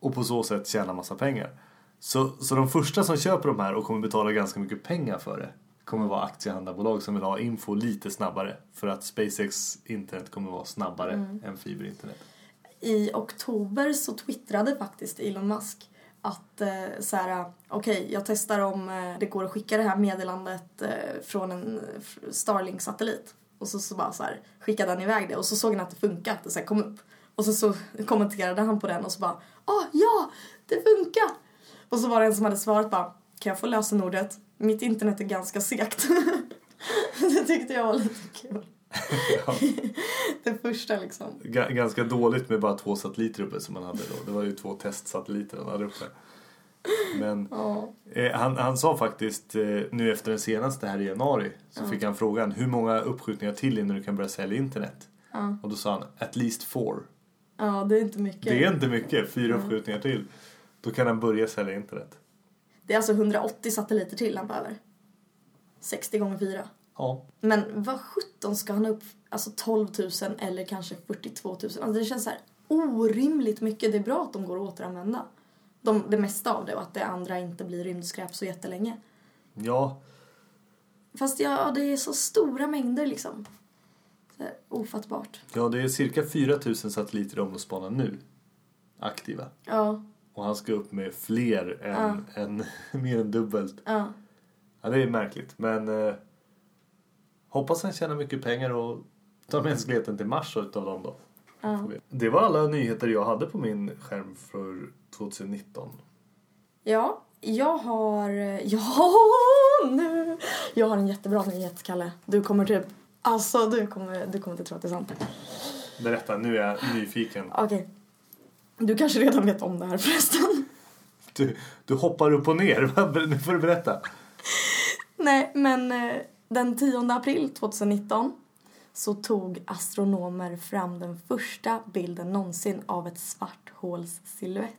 Och på så sätt tjäna massa pengar. Så, så de första som köper de här och kommer betala ganska mycket pengar för det kommer vara aktiehandlarbolag som vill ha info lite snabbare. För att SpaceX internet kommer vara snabbare än fiberinternet.
I oktober så twittrade faktiskt Elon Musk att eh, så här, okej, jag testar om eh, det går att skicka det här meddelandet eh, från en eh, Starlink-satellit. Och så, så bara så här, skickade han iväg det och så såg han att det funkade, att det så här kom upp. Och så, så kommenterade han på den och så bara, ah ja, det funkar! Och så var det en som hade svarat bara, kan jag få lösenordet? Mitt internet är ganska segt. [laughs] det tyckte jag var lite kul. [laughs] det första liksom.
Ga- ganska dåligt med bara två satelliter uppe som han hade då. Det var ju två testsatelliter han hade uppe. Men
Ja.
eh, han, han sa faktiskt eh, nu efter den senaste här i januari så fick han frågan hur många uppskjutningar till innan du kan börja sälja internet? Och då sa han at least four.
Ja, det är inte mycket.
Det är inte mycket, fyra uppskjutningar till. Då kan han börja sälja internet.
Det är alltså 180 satelliter till han behöver. 60 gånger 4.
Ja.
Men vad 17 ska han upp alltså 12 000 eller kanske 42 000? Alltså det känns så här orimligt mycket. Det är bra att de går att återanvända. De, det mesta av det och att det andra inte blir rymdskräp så jättelänge.
Ja,
Fast ja, det är så stora mängder liksom. Så här, ofattbart.
ja det är cirka 4000 satelliter i omloppsbanan nu. Aktiva.
Ja,
Och han ska upp med fler än, än [laughs] mer än dubbelt.
ja.
Ja, det är märkligt. Men eh, hoppas han tjänar mycket pengar och tar mänskligheten till Mars utav dem då. Får vi- Det var alla nyheter jag hade på min skärm för 2019.
Ja, jag har... [laughs] Ja, nu! Jag har en jättebra nyhet, Kalle. Du kommer typ... Alltså, du kommer, du kommer inte tro att det är sant.
Berätta, nu är jag nyfiken.
Okej. Du kanske redan vet om det här [laughs] förresten.
Du, du hoppar upp och ner. [laughs] Va? Nu får du berätta.
Nej, men eh, den 10 april 2019 så tog astronomer fram den första bilden någonsin av ett svart håls silhuett.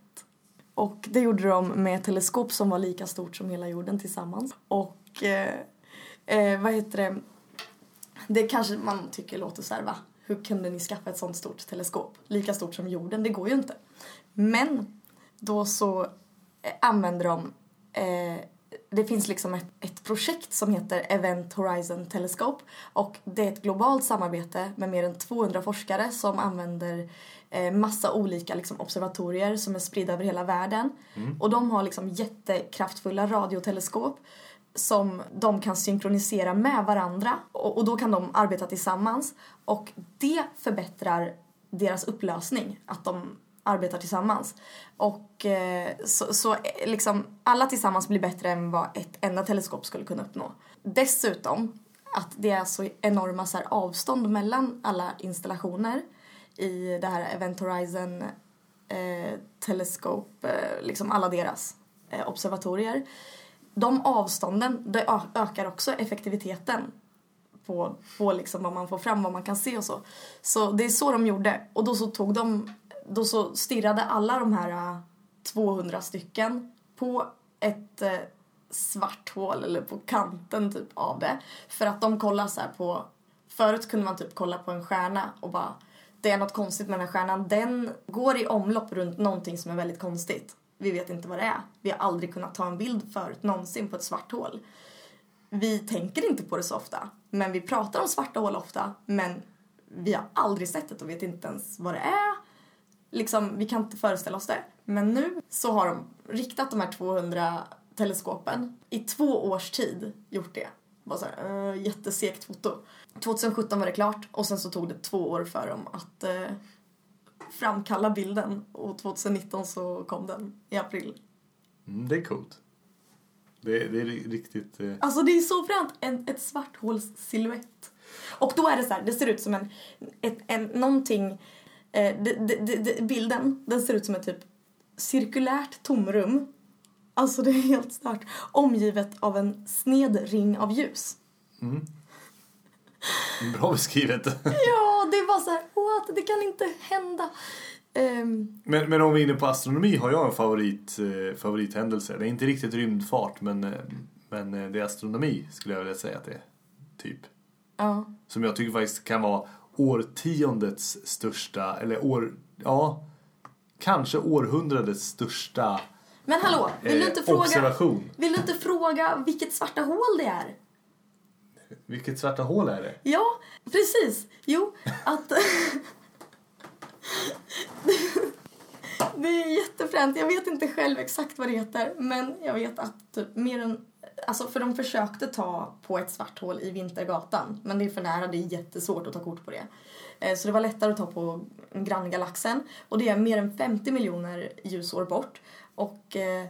Och det gjorde de med ett teleskop som var lika stort som hela jorden tillsammans. Och eh, eh, vad heter det? Det kanske man tycker låter så här, va? Hur kunde ni skaffa ett sånt stort teleskop? Lika stort som jorden, det går ju inte. Men då så eh, använder de... Eh, det finns liksom ett, ett projekt som heter Event Horizon Telescope och det är ett globalt samarbete med mer än 200 forskare som använder eh, massa olika liksom, observatorier som är spridda över hela världen. Och de har liksom jättekraftfulla radioteleskop som de kan synkronisera med varandra och, och då kan de arbeta tillsammans och det förbättrar deras upplösning att de arbetar tillsammans. Och eh, så, så eh, liksom alla tillsammans blir bättre än vad ett enda teleskop skulle kunna uppnå. Dessutom att det är så enorma så här, avstånd mellan alla installationer i det här Event Horizon eh, teleskop, eh, liksom alla deras eh, observatorier. De avstånden, det ö- ökar också effektiviteten på, på liksom vad man får fram, vad man kan se och så. Så det är så de gjorde. Och då så tog de, då så stirrade alla de här eh, 200 stycken på ett eh, svart hål eller på kanten typ av det. För att de kollar så här på, förut kunde man typ kolla på en stjärna och bara det är något konstigt med den här stjärnan. Den går i omlopp runt någonting som är väldigt konstigt. Vi vet inte vad det är. Vi har aldrig kunnat ta en bild förut någonsin på ett svart hål vi tänker inte på det så ofta. Men vi pratar om svarta hål ofta. Men vi har aldrig sett det och vet inte ens vad det är. Liksom, vi kan inte föreställa oss det. Men nu så har de riktat de här 200 teleskopen i två års tid gjort det. Bara så här, eh, jättesegt foto. 2017 var det klart och sen så tog det två år för dem att eh, framkalla bilden och 2019 så kom den i april.
Mm, det är coolt. Det, det är ri- riktigt... Eh...
Alltså det är så fränt, en, ett svart håls silhuett. Och då är det så här, det ser ut som en, ett, en någonting, eh, det, det, det, det, bilden, den ser ut som ett typ cirkulärt tomrum. Alltså det är helt stört. Omgivet av en sned ring av ljus.
Bra beskrivet. [laughs]
Ja, det var så här, what, det kan inte hända. Ehm,
men, men om vi är inne på astronomi har jag en favorit, eh, favorithändelse. Det är inte riktigt rymdfart men, eh, men eh, det är astronomi skulle jag vilja säga att det är. Typ.
ja,
Som jag tycker faktiskt kan vara årtiondets största, eller år, ja, kanske århundradets största
men hallå, vill du inte
eh,
fråga,
observation.
vill du inte fråga vilket svarta hål det är?
Vilket svarta hål är det? [laughs]
Ja, precis. Jo, att... Det är jättefränt. Jag vet inte själv exakt vad det heter. Men jag vet att typ mer än... Alltså för de försökte ta på ett svart hål i Vintergatan. Men det är för nära. Det är jättesvårt att ta kort på det. Eh, Så det var lättare att ta på granngalaxen. Och det är mer än 50 miljoner ljusår bort. Och eh,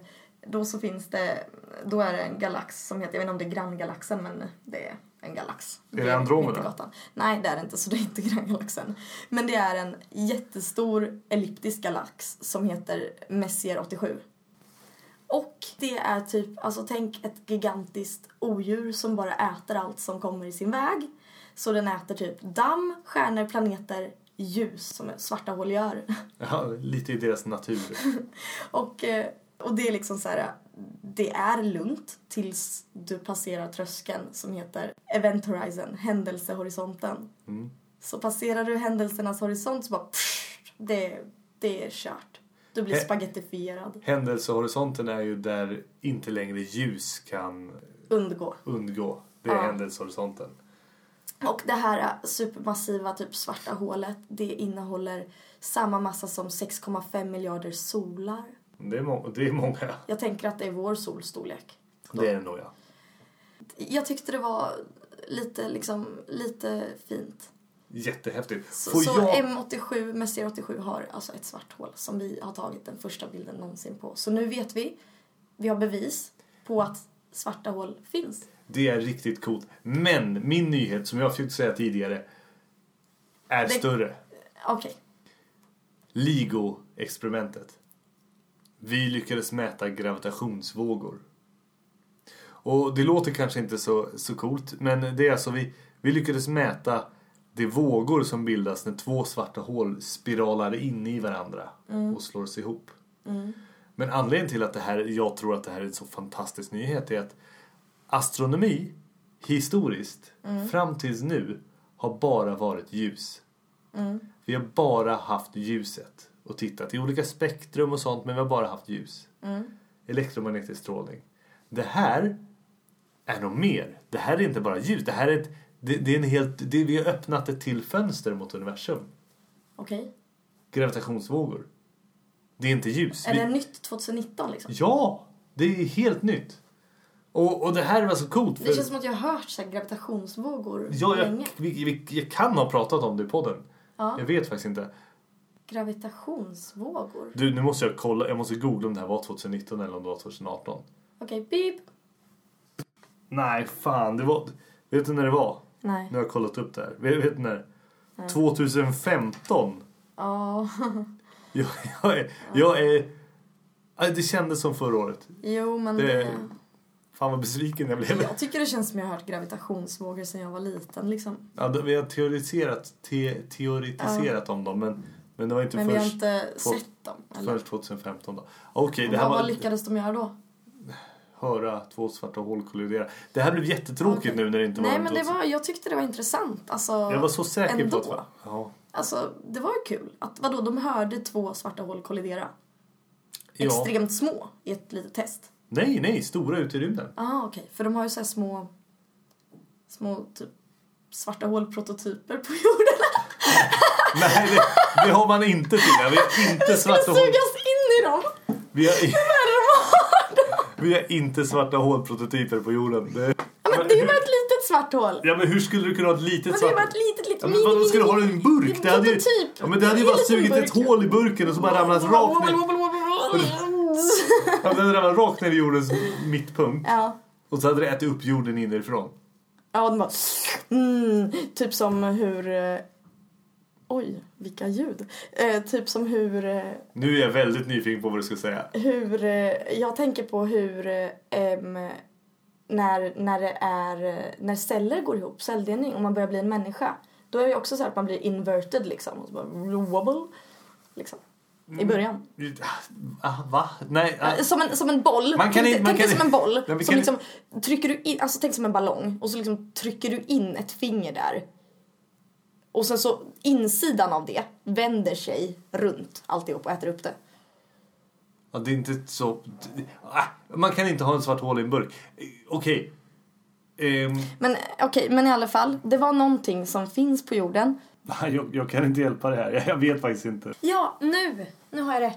då så finns det... Då är det en galax som heter... Jag vet inte om det är granngalaxen men det är en galax.
det Andromeda?
Vintergatan. Gatan. Nej, det är det inte, så det är inte [laughs] Granngalaxen. Men det är en jättestor elliptisk galax som heter Messier 87. Och det är typ, alltså tänk ett gigantiskt odjur som bara äter allt som kommer i sin väg. Så den äter typ damm, stjärnor, planeter, ljus som svarta hål gör. [laughs]
Ja, lite i deras natur.
Och, eh, och det är liksom så här, det är lugnt tills du passerar tröskeln som heter Event Horizon, händelsehorisonten. Så passerar du händelsernas horisont så bara pff, det, det är kört. Du blir
He-
spagettifierad.
Händelsehorisonten är ju där inte längre ljus kan
Undgå.
undgå. Det är händelsehorisonten.
Och det här supermassiva typ svarta hålet det innehåller samma massa som 6,5 miljarder solar.
Det är, må- det är många.
Jag tänker att det är vår solstorlek.
Det är det nog ja.
Jag tyckte det var lite, liksom, lite fint.
Jättehäftigt.
Så,
Får
så
jag...
M87, Messier 87 har alltså ett svart hål som vi har tagit den första bilden någonsin på. Så nu vet vi, vi har bevis på att svarta hål finns.
Det är riktigt coolt. Men min nyhet som jag försökte säga tidigare är större.
Okej,
LIGO-experimentet. Vi lyckades mäta gravitationsvågor. Och det låter kanske inte så, så coolt, men det är alltså vi, vi lyckades mäta de vågor som bildas när två svarta hål spiralar in i varandra och slås ihop. Men anledningen till att det här, jag tror att det här är en så fantastisk nyhet är att astronomi historiskt fram tills nu har bara varit ljus. Vi har bara haft ljuset och tittat i olika spektrum och sånt men vi har bara haft ljus.
Mm.
Elektromagnetisk strålning. Det här är nog mer. Det här är inte bara ljus. Det här är ett, det, det är en helt, det, vi har öppnat ett till fönster mot universum.
okej.
Gravitationsvågor. Det är inte ljus.
Är
Vi-
det nytt 2019 liksom?
Ja! Det är helt nytt. Och, och det här var så coolt.
Det känns som att jag har hört så här gravitationsvågor
ja, jag,
länge.
vi, vi, jag kan ha pratat om det i podden.
Ja.
Jag vet faktiskt inte.
Gravitationsvågor?
Du, nu måste jag kolla. Jag måste googla om det här var 2019 eller om det var 2018.
Okej, beep.
Nej, fan. Det var... Vet du när det var?
Nej.
Nu har jag kollat upp det här. Vet, vet du när? 2015.
Ja, [laughs]
Jag, jag är... Jag är Ja, det kändes som förra året.
jo men
Det,
det...
fan vad besviken jag blev.
Jag tycker det känns som jag har hört gravitationsvågor sedan jag var liten liksom.
Ja, det- vi har teoretiserat, te, teoretiserat om dem men, men det var inte
Men vi har
först,
inte
två-
sett dem. Eller?
först 2015. då. Okej, det här
Vad
var
vad lyckades de göra då?
höra två svarta hål kollidera. Det här blev jättetråkigt
Okej.
nu när det inte
Alltså, Nej,
var
men det var, jag tyckte det var intressant. Alltså,
Jag var så säker
ändå.
på att... Ja.
Alltså, det var ju kul. Att, vadå, de hörde två svarta hål kollidera.
Ja.
Extremt små i ett litet test.
Nej, nej, stora ute i rymden. [laughs]
Ja, okej. För de har ju så här små... Små typ svarta hål-prototyper på [laughs] jorden.
Nej, det, det har man inte Tina. Vi har inte svarta hål.
Sugas in i dem!
Vi har,
[laughs]
vi har inte svarta hål-prototyper på jorden. Det,
Ja, men det är ju bara ett litet svart hål.
ja, men hur skulle du kunna ha ett litet
Men det är
svart
bara ett litet, litet...
Ja, men vadå, ska du ha den i en burk? Det hade ju,
prototyp.
ja, men det hade ju
typ. Det är
bara
en liten
sugit ett
burk.
hål i burken och så bara ramlat rakt ner. [laughs] Ja, Den hade ramlat rakt ner i jordens
[laughs]
mittpunkt.
Ja.
Och så hade det ätit upp jorden inifrån.
Ja, den bara... Mm, typ som hur... eh, Oj, vilka ljud. Eh, typ som hur... eh,
Nu är jag väldigt nyfiken på vad du ska säga.
hur eh, jag tänker på hur... eh, em, när, när det är... eh, När celler går ihop, celldelning, och man börjar bli en människa. Då är det också så här att man blir inverted liksom. Och så bara... Roable, liksom. I början.
Ah, Va? Nej, ah.
Eh, Som en, som en boll.
Man kan
tänk
inte-
dig-
man
tänk dig
kan-
som en boll.
men vi
som
kan-
liksom, trycker du in, alltså tänk som en ballong och så liksom trycker du in ett finger där. Och sen så insidan av det vänder sig runt alltihop och äter upp det.
Ja, det är inte så... Ah, Man kan inte ha en svart hål i en burk. Eh, Okej. Ehm,
Men eh, okej, men i alla fall. Det var någonting som finns på jorden.
nej, jag, jag kan inte hjälpa det här. Jag vet faktiskt inte.
Ja, nu! Nu har jag det.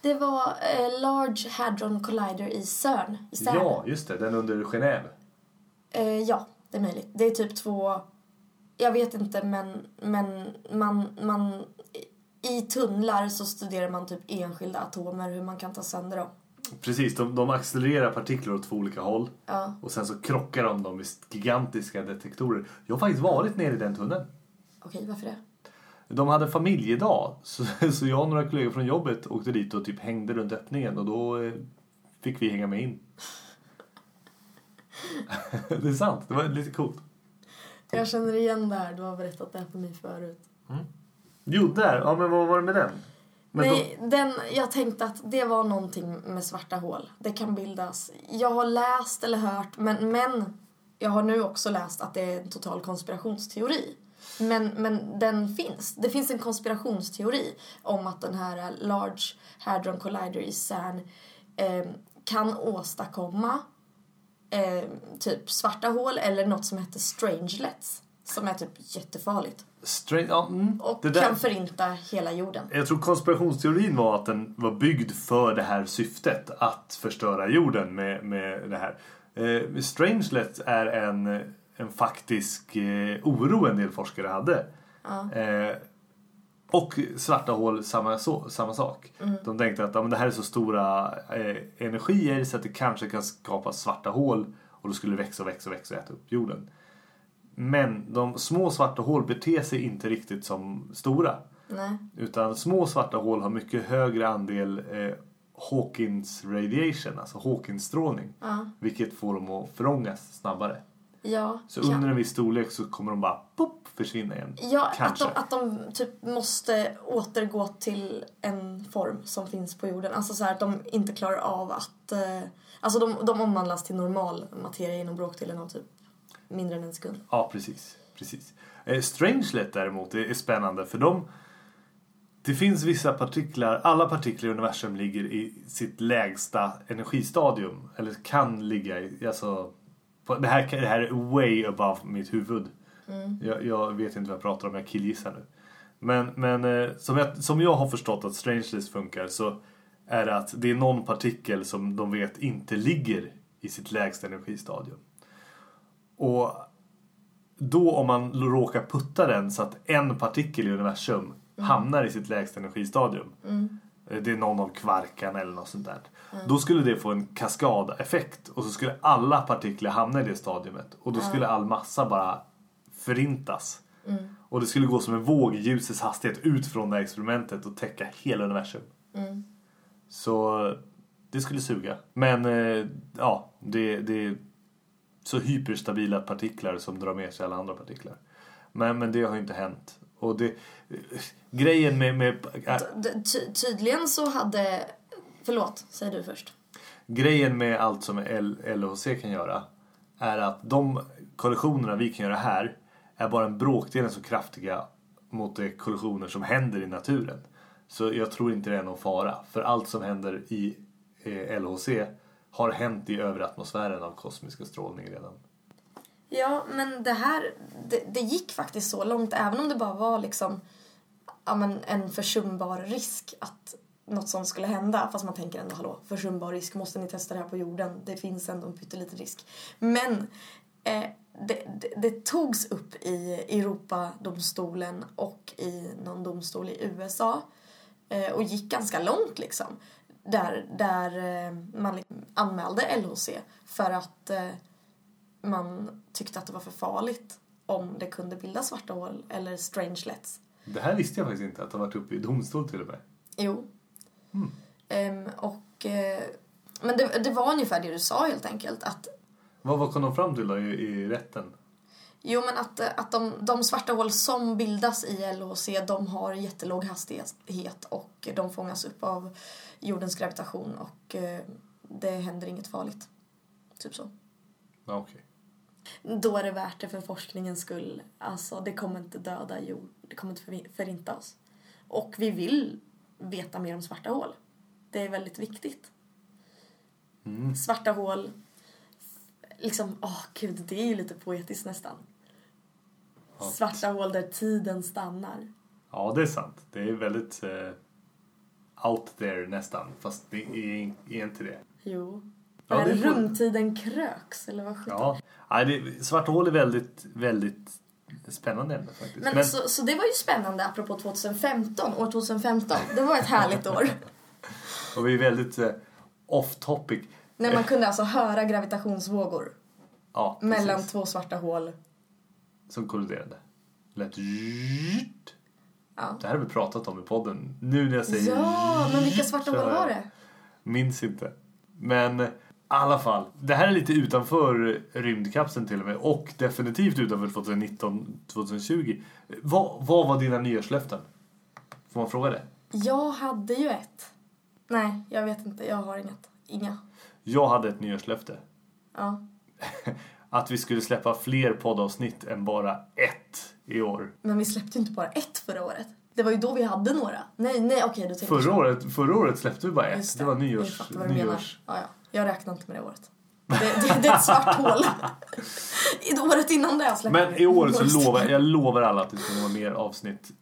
Det var eh, Large Hadron Collider i CERN i Sälen.
Ja, just det. Den under Genève.
Eh, ja, det är möjligt. Det är typ två... Jag vet inte, men, men man, man... I tunnlar så studerar man typ enskilda atomer, hur man kan ta sönder dem.
Precis, de, de accelererar partiklar åt två olika håll.
Ja.
Och sen så krockar de dem med gigantiska detektorer. Jag har faktiskt varit nere i den tunneln.
Okej, varför det?
De hade familjedag, så, [laughs] så jag och några kollegor från jobbet åkte dit och typ hängde runt öppningen och då eh, fick vi hänga med in. [laughs] det är sant, det var lite coolt.
Jag känner igen det här. Du har berättat det här för mig förut.
Jo, där. Ja, men vad var det med den? Men
Nej, den, jag tänkte att det var någonting med svarta hål. Det kan bildas. Jag har läst eller hört, men, men jag har nu också läst att det är en total konspirationsteori. Men, men den finns. Det finns en konspirationsteori om att den här Large Hadron Collider i CERN eh, kan åstadkomma eh, typ svarta hål eller något som heter strangelets som är typ jättefarligt
då, straight, ja, mm,
och
det där.
kan förinta hela jorden.
Jag tror konspirationsteorin var att den var byggd för det här syftet. Att förstöra jorden med, med det här. Eh, Strangelet är en, en faktisk eh, oro en del forskare hade. Eh, och svarta hål, samma, så, samma sak. De tänkte att ja, men det här är så stora eh, energier så att det kanske kan skapa svarta hål och då skulle det växa och växa och växa och äta upp jorden. Men de små svarta hål beter sig inte riktigt som stora.
Nej.
Utan små svarta hål har mycket högre andel eh, Hawkins radiation, alltså Hawkins-strålning. Vilket får dem att förångas snabbare.
Ja,
Så
ja.
under en viss storlek så kommer de bara pop, försvinna igen.
ja att,
Kanske.
de, att de typ måste återgå till en form som finns på jorden. Alltså så här att de inte klarar av att... Eh, alltså de, de omvandlas till normal materia inom bråkdelen av typ mindre än en sekund.
Ja, precis. precis. Eh, Strangelet däremot är, är spännande för de... Det finns vissa partiklar, alla partiklar i universum ligger i sitt lägsta energistadium. Eller kan ligga i, alltså... På, det, här, kan- det här är way above mitt huvud. Jag, jag vet inte vad jag pratar om, jag killgissar nu. Men, men eh, som, jag, som jag har förstått att Strangeless funkar så är det att det är någon partikel som de vet inte ligger i sitt lägsta energistadium. Och då om man råkar putta den så att en partikel i universum hamnar i sitt lägsta energistadium. Eh, Det är någon av kvarkarna eller något sånt där. Då skulle det få en kaskadeffekt och så skulle alla partiklar hamna i det stadiumet. Och då skulle all massa bara förintas. Och det skulle gå som en våg i ljusets hastighet ut från det här experimentet och täcka hela universum. Så det skulle suga. Men eh, ja, det, det så hyperstabila partiklar som drar med sig alla andra partiklar. Men, men det har ju inte hänt. Och det, eh, grejen med, med, äh,
D- Ty, tydligen så hade... Förlåt, säger du först.
grejen med allt som L, LHC kan göra är att de kollisionerna vi kan göra här är bara en bråkdel så kraftiga mot de kollisioner som händer i naturen. Så jag tror inte det är någon fara. För allt som händer i eh, LHC har hänt i övre atmosfären av kosmiska strålning redan.
Ja, men det här, det, det gick faktiskt så långt, även om det bara var liksom ja, men en försumbar risk att något sånt skulle hända. Fast man tänker ändå, hallå, försumbar risk, måste ni testa det här på jorden? Det finns ändå en pytteliten risk. Men eh, det, det, det togs upp i Europadomstolen och i någon domstol i USA eh, och gick ganska långt liksom. Där, där eh, man liksom anmälde LHC för att eh, man tyckte att det var för farligt om det kunde bilda svarta hål eller strangelets.
Det här visste jag faktiskt inte att det har varit uppe i domstol till och med.
Jo. Ehm, och, eh, men det, det var ungefär det du sa helt enkelt. Att,
Vad, vad kom de fram till då i, i rätten?
jo men att, eh, att de, de svarta hål som bildas i LHC de har jättelåg hastighet och de fångas upp av jordens gravitation och eh, det händer inget farligt. Typ så.
Ja, okej.
Då är det värt det för forskningens skull. Alltså, det kommer inte döda jord. Det kommer inte förvi- förinta oss. Och vi vill veta mer om svarta hål. Det är väldigt viktigt.
Mm.
Svarta hål... Liksom, åh gud, det är ju lite poetiskt nästan. Svarta hål där tiden stannar.
Ja, det är sant. Det är väldigt eh, out there nästan. Fast det är, är inte det.
Jo.
Ja,
När
det får-
rumtiden kröks, eller vad sjutton.
Ja. Nej, det, svarta hål är väldigt, väldigt spännande ämne faktiskt.
Men, Så, så det var ju spännande apropå 2015, år 2015. Det var ett härligt år.
och vi är väldigt eh, off topic.
När man kunde alltså höra gravitationsvågor
Ja, precis.
mellan två svarta hål.
Som kolliderade. Lät zzzzt.
Ja.
Det här har vi pratat om i podden. Nu när jag säger
Ja, men vilka
zzzzt
svarta
så-
hål var det?
Minns inte. Men eh, i alla fall. Det här är lite utanför rymdkapseln till och med. Och definitivt utanför 2019, 2020. Vad, vad var dina nyårslöften? Får man fråga det?
Jag hade ju ett. Nej, jag vet inte. Jag har inget. Inga.
Jag hade ett nyårslöfte.
Ja.
Att vi skulle släppa fler poddavsnitt än bara ett i år.
Men vi släppte ju inte bara ett förra året. Det var ju då vi hade några. Nej, nej, okej, du tänker
Förra
så.
året, förra året släppte vi bara ett.
Just
det. var
Jag
nyårs...
fattar vad du
nyårs...
menar. Ja, ja. Jag räknar inte med det året. Det, det, det är ett svart
[laughs]
hål. I året innan det släppte
Men
vi. [laughs]
i år så lovar jag lovar alla att det ska vara mer avsnitt.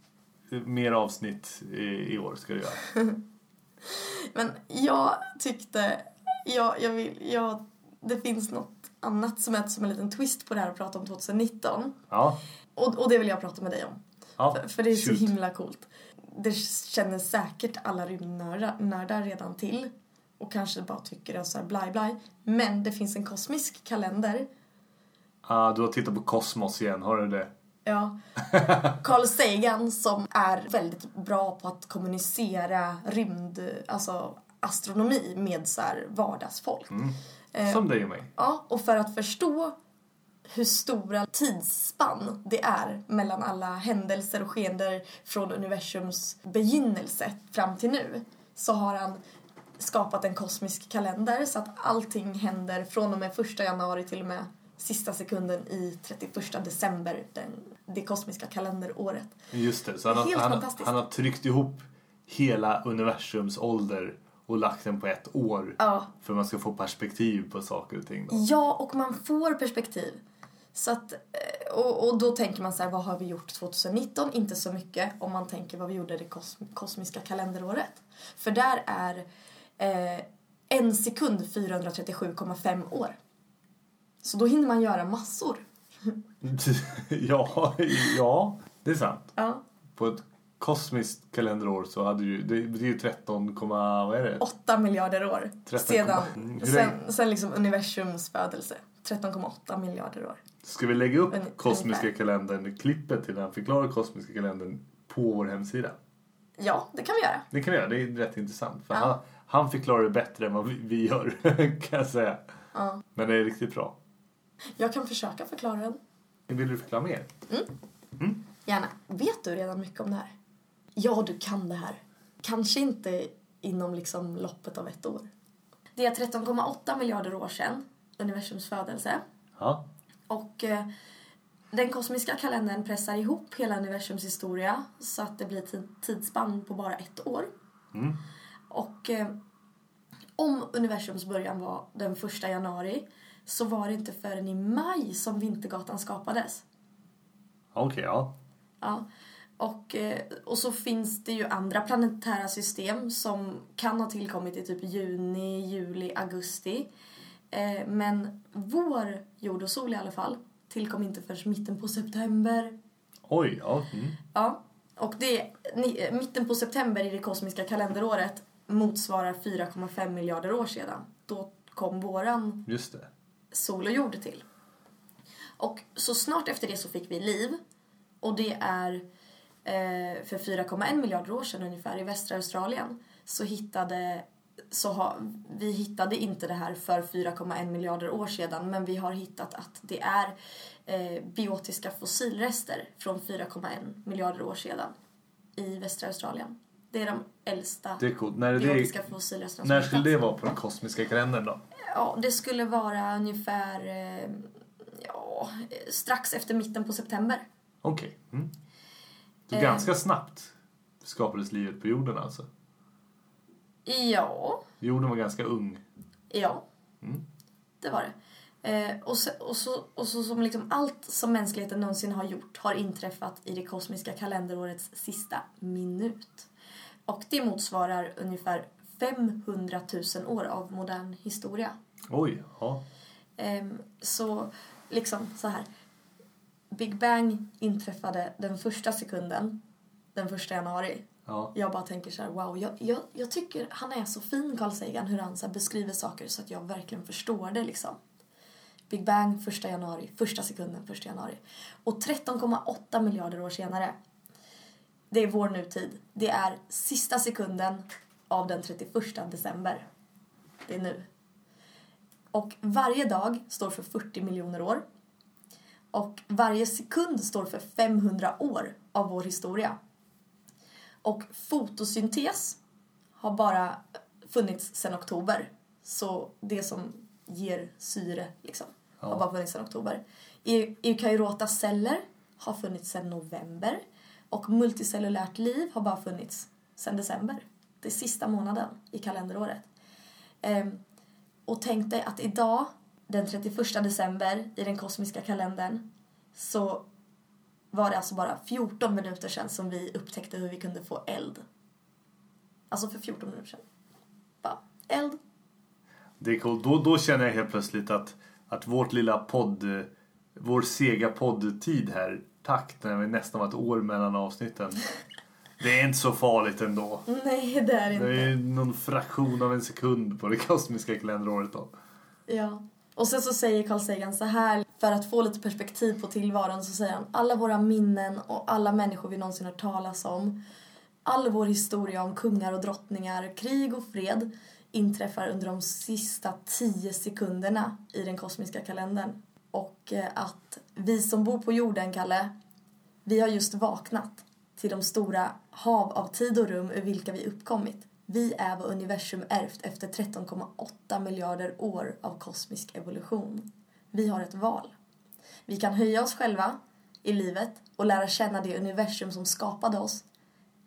Mer avsnitt i, i år ska det göra.
Men jag tyckte... Jag, jag vill, jag, det finns något annat som är som en liten twist på det här att prata om 2019.
Ja.
Och, och det vill jag prata med dig om.
ja.
För, för det är så
Shoot.
himla coolt. Det känner säkert alla rymdnördar redan till. Och kanske bara tycker det är så här blaj blaj. Men det finns en kosmisk kalender.
Ah, du har tittat på Kosmos igen, har du det? [laughs]
Ja. Carl Sagan som är väldigt bra på att kommunicera rymd, alltså astronomi med så här vardagsfolk. Eh.
Som dig och mig.
Ja, och för att förstå hur stora tidsspann det är mellan alla händelser och skeenden från universums begynnelse fram till nu så har han skapat en kosmisk kalender så att allting händer från och med 1 januari till och med sista sekunden i 31 december, den, det kosmiska kalenderåret.
Just det, så han, har-
Helt
han,
fantastiskt.
han har tryckt ihop hela universums ålder och lagt den på ett år.
Ja.
För man ska få perspektiv på saker och ting. Då. [laughs]
Ja, och man får perspektiv. Så att, eh, och, och då tänker man så här, vad har vi gjort 2019? Inte så mycket om man tänker vad vi gjorde det kosm- kosmiska kalenderåret. För där är eh, en sekund 437,5 år. Så då hinner man göra massor.
ja, ja, det är sant.
Ja.
På ett kosmiskt kalenderår så hade ju, det, det är ju 13, komma- vad är det?
8 miljarder år
13,7.
sedan,
Mm, hur länge?
sen, sen liksom universums födelse. 13,8 miljarder år.
Ska vi lägga upp
Un-
kosmiska
ungefär.
kalendern, klippet till när han förklarar kosmiska kalendern på vår hemsida?
Ja, det kan vi göra.
Det kan vi göra, det är rätt intressant. För
Ja.
han, han förklarar det bättre än vad vi, vi gör, [laughs] kan jag säga. Men det är riktigt bra.
Jag kan försöka förklara den.
Vill du förklara mer?
Gärna. Vet du redan mycket om det här? Ja, du kan det här. Kanske inte inom liksom loppet av ett år. Det är 13,8 miljarder år sedan universums födelse.
Ja.
Och eh, den kosmiska kalendern pressar ihop hela universums historia så att det blir tid- tidsspann på bara ett år. Och eh, om universums början var den första januari så var det inte förrän i maj som Vintergatan skapades.
Okej, ja.
Ja. Och, eh, och så finns det ju andra planetära system som kan ha tillkommit i typ juni, juli, augusti. Eh, Men vår jord och sol i alla fall tillkom inte förrän mitten på september.
Oj, ja. Mm.
Ja. Och det, ni, eh, mitten på september i det kosmiska kalenderåret motsvarar 4,5 miljarder år sedan. Då kom våran
Just det.
sol och jord till. Och så snart efter det så fick vi liv. Och det är eh, för 4,1 miljarder år sedan ungefär i västra Australien så hittade så ha, vi hittade inte det här för 4,1 miljarder år sedan men vi har hittat att det är eh, biotiska fossilrester från 4,1 miljarder år sedan i västra Australien. Det är de äldsta
Det är coolt. När, är
biotiska
det,
fossilresterna som
när
hittats.
skulle det vara på den kosmiska kalendern då?
Ja, det skulle vara ungefär eh, ja, eh, strax efter mitten på september.
Okej. Mm. Så ganska snabbt skapades livet på jorden alltså.
Ja,
Jorden var ganska ung.
ja. Det var det. Eh, och, så, och, så, och så som liksom allt som mänskligheten någonsin har gjort har inträffat i det kosmiska kalenderårets sista minut. Och det motsvarar ungefär 500 000 år av modern historia.
Oj, ja.
Ehm, så liksom så här. Big Bang inträffade den första sekunden, den första januari.
Ja.
Jag bara tänker så här, wow, jag, jag, jag tycker han är så fin Carl Sagan hur han så här beskriver saker så att jag verkligen förstår det liksom. Big Bang, första januari, första sekunden, första januari. Och 13,8 miljarder år senare, det är vår nutid. Det är sista sekunden av den 31 december. Det är nu. Och varje dag står för 40 miljoner år. Och varje sekund står för 500 år av vår historia. Och fotosyntes har bara funnits sedan oktober. Så det som ger syre liksom, har bara funnits sedan oktober. Eu- Eukaryotaceller har funnits sedan november. Och multicellulärt liv har bara funnits sedan december. Det är sista månaden i kalenderåret. Ehm, och tänk dig att idag, den 31 december, i den kosmiska kalendern, så var det alltså bara 14 minuter sedan som vi upptäckte hur vi kunde få eld. Alltså för 14 minuter sedan. Bara, eld.
Det är coolt. Då, då känner jag helt plötsligt att, att vårt lilla podd... eh, Vår sega poddtid här. Tack, när vi nästan var ett år mellan avsnitten. Det är inte så farligt ändå.
Nej, [laughs] det är inte.
Det är någon fraktion av en sekund på det [laughs] kosmiska kalenderåret då.
Ja. Och sen så säger Carl Sagan så här, för att få lite perspektiv på tillvaron så säger han alla våra minnen och alla människor vi någonsin hört talas om, all vår historia om kungar och drottningar, krig och fred inträffar under de sista tio sekunderna i den kosmiska kalendern. Och eh, att vi som bor på jorden, Kalle, vi har just vaknat till de stora hav av tid och rum ur vilka vi uppkommit. Vi är vad universum ärvt efter 13,8 miljarder år av kosmisk evolution. Vi har ett val. Vi kan höja oss själva i livet och lära känna det universum som skapade oss.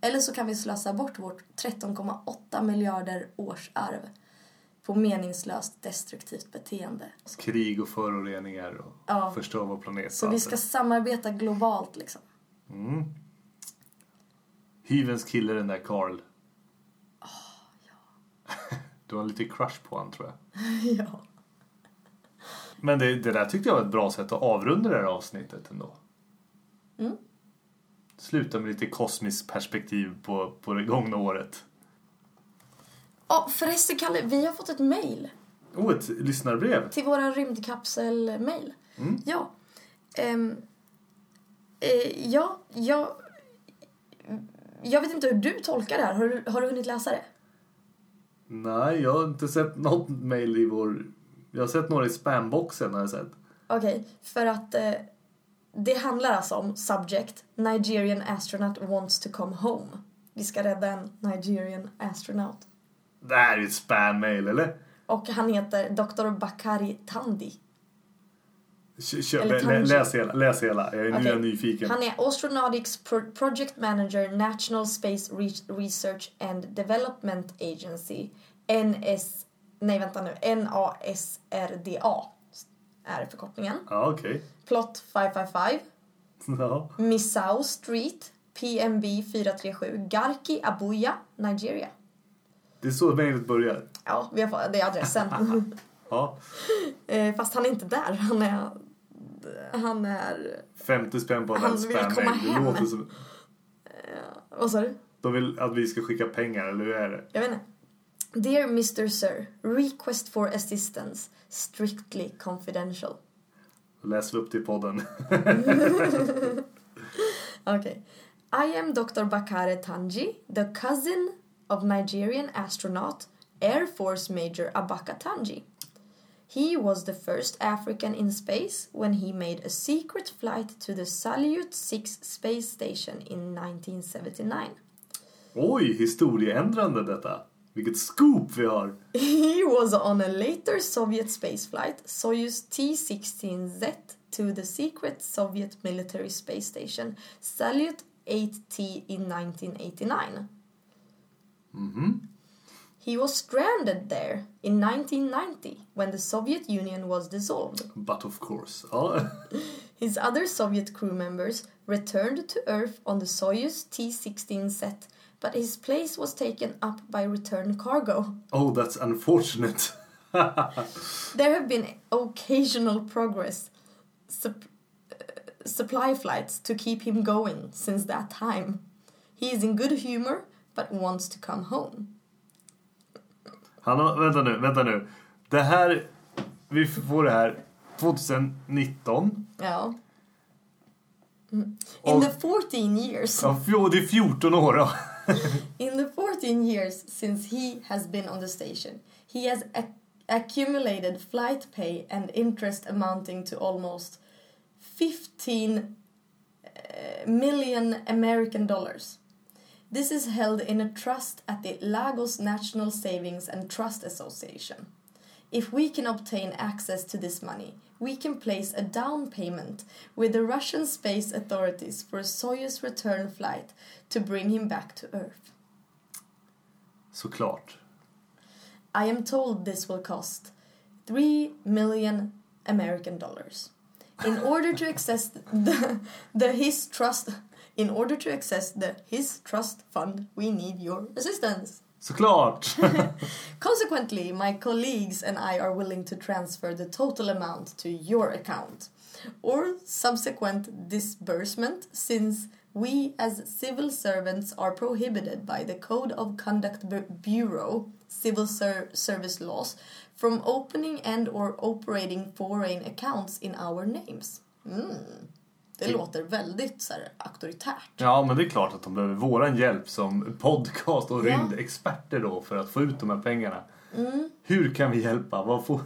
Eller så kan vi slösa bort vårt 13,8 miljarder års arv på meningslöst destruktivt beteende.
Krig och föroreningar och
Ja.
förstör vår planet.
Så vi ska samarbeta globalt liksom.
eh, Hyvens kille den där Karl.
Ah,
[laughs] Du har lite crush på honom tror jag.
ja.
Men det, det där tyckte jag var ett bra sätt att avrunda det här avsnittet ändå.
Mm.
Sluta med lite kosmiskt perspektiv på, på det gångna året.
Ja, förresten Kalle, vi har fått ett mejl.
Oh, ett lyssnarbrev!
Till våra rymdkapsel-mejl. Ja. Ehm, eh, ja, jag... Jag vet inte hur du tolkar det här. Har du, har du hunnit läsa det?
Nej, jag har inte sett något mejl i vår... Jag har sett några i spamboxen har jag sett.
Okej, för att eh, det handlar alltså om subject Nigerian astronaut wants to come home. Vi ska rädda en Nigerian astronaut.
Det här är ju ett spam-mail, eller?
Och han heter Dr. Bakari Tandi.
Kö, kö,
Eller
lä, lä,
kanske.
läs hela, läs hela. Jag är, Nu är jag
Okej.
nyfiken.
Han är Astronautics Pro- Project Manager National Space Re- Research and Development Agency. NS... Nej, vänta nu. NASRDA är förkortningen.
Ja, okej. [laughs]
Plot 555.
Ja.
Missau Street. PMB 437. Garki Abuja, Nigeria.
Det är så mejlet börjar.
Ja, vi har fått, det är
[laughs]
adressen.
Ja.
Eh, Fast han är inte där. Han är... Han är...
50 spänn på
Han
ett
vill komma
spam-mail. Det
hem.
låter som...
Vad sa du?
De vill att vi ska skicka pengar, eller hur är det?
Jag vet inte. Dear Mr Sir, request for assistance, strictly confidential.
Då läser vi upp till podden. [laughs]
Okay. I am Dr. Bakare Tanji, the cousin of Nigerian astronaut Air Force Major Abaka Tanji. He was the first African in space when he made a secret flight to the Salyut 6 space station in 1979.
Oj, historieändrande detta. Vilket scoop vi har.
He was on a later Soviet spaceflight, Soyuz T-16Z, to the secret Soviet military space station Salyut 8T in 1989. He was stranded there in 1990 when the Soviet Union was dissolved.
But of course. Ja.
His other Soviet crew members returned to Earth on the Soyuz T 16 set But his place was taken up by return cargo.
Oh, that's unfortunate.
There have been occasional progress sup- uh, supply flights to keep him going since that time. He is in good humor but wants to come home.
Han har, vänta nu, vänta nu. Det här, vi får det här 2019.
Ja. mm, In
Och-
the 14 years
Ja, fjo- det är 14 år då.
In the 14 years since he has been on the station, he has ac- accumulated flight pay and interest amounting to almost 15 uh, million American dollars. This is held in a trust at the Lagos National Savings and Trust Association. If we can obtain access to this money, we can place a down payment with the Russian space authorities for a Soyuz return flight to bring him back to Earth.
Såklart.
I am told this will cost 3 million American dollars. In order to access the, the his trust in order to access the his trust fund, we need your assistance.
Såklart! [laughs]
Consequently, my colleagues and I are willing to transfer the total amount to your account or subsequent disbursement since we as civil servants are prohibited by the Code of Conduct Bu- Bureau civil ser- service laws from opening and or operating foreign accounts in our names. Mm. Det låter väldigt så här, auktoritärt.
Ja, men det är klart att de behöver våran hjälp som podcast och rymdexperter då för att få ut de här pengarna. Hur kan vi hjälpa? Vad får...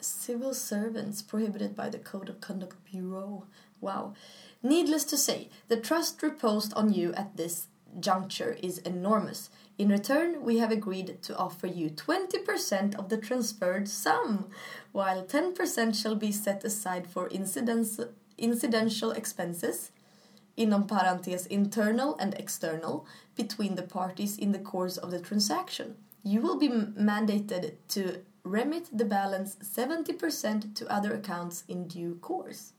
Civil servants prohibited by the Code of Conduct Bureau. Wow. Needless to say, the trust reposed on you at this juncture is enormous. In return, we have agreed to offer you 20% of the transferred sum, while 10% shall be set aside for incidents, incidental expenses, inom parentes internal and external between the parties in the course of the transaction. You will be m- mandated to remit the balance 70% to other accounts in due course.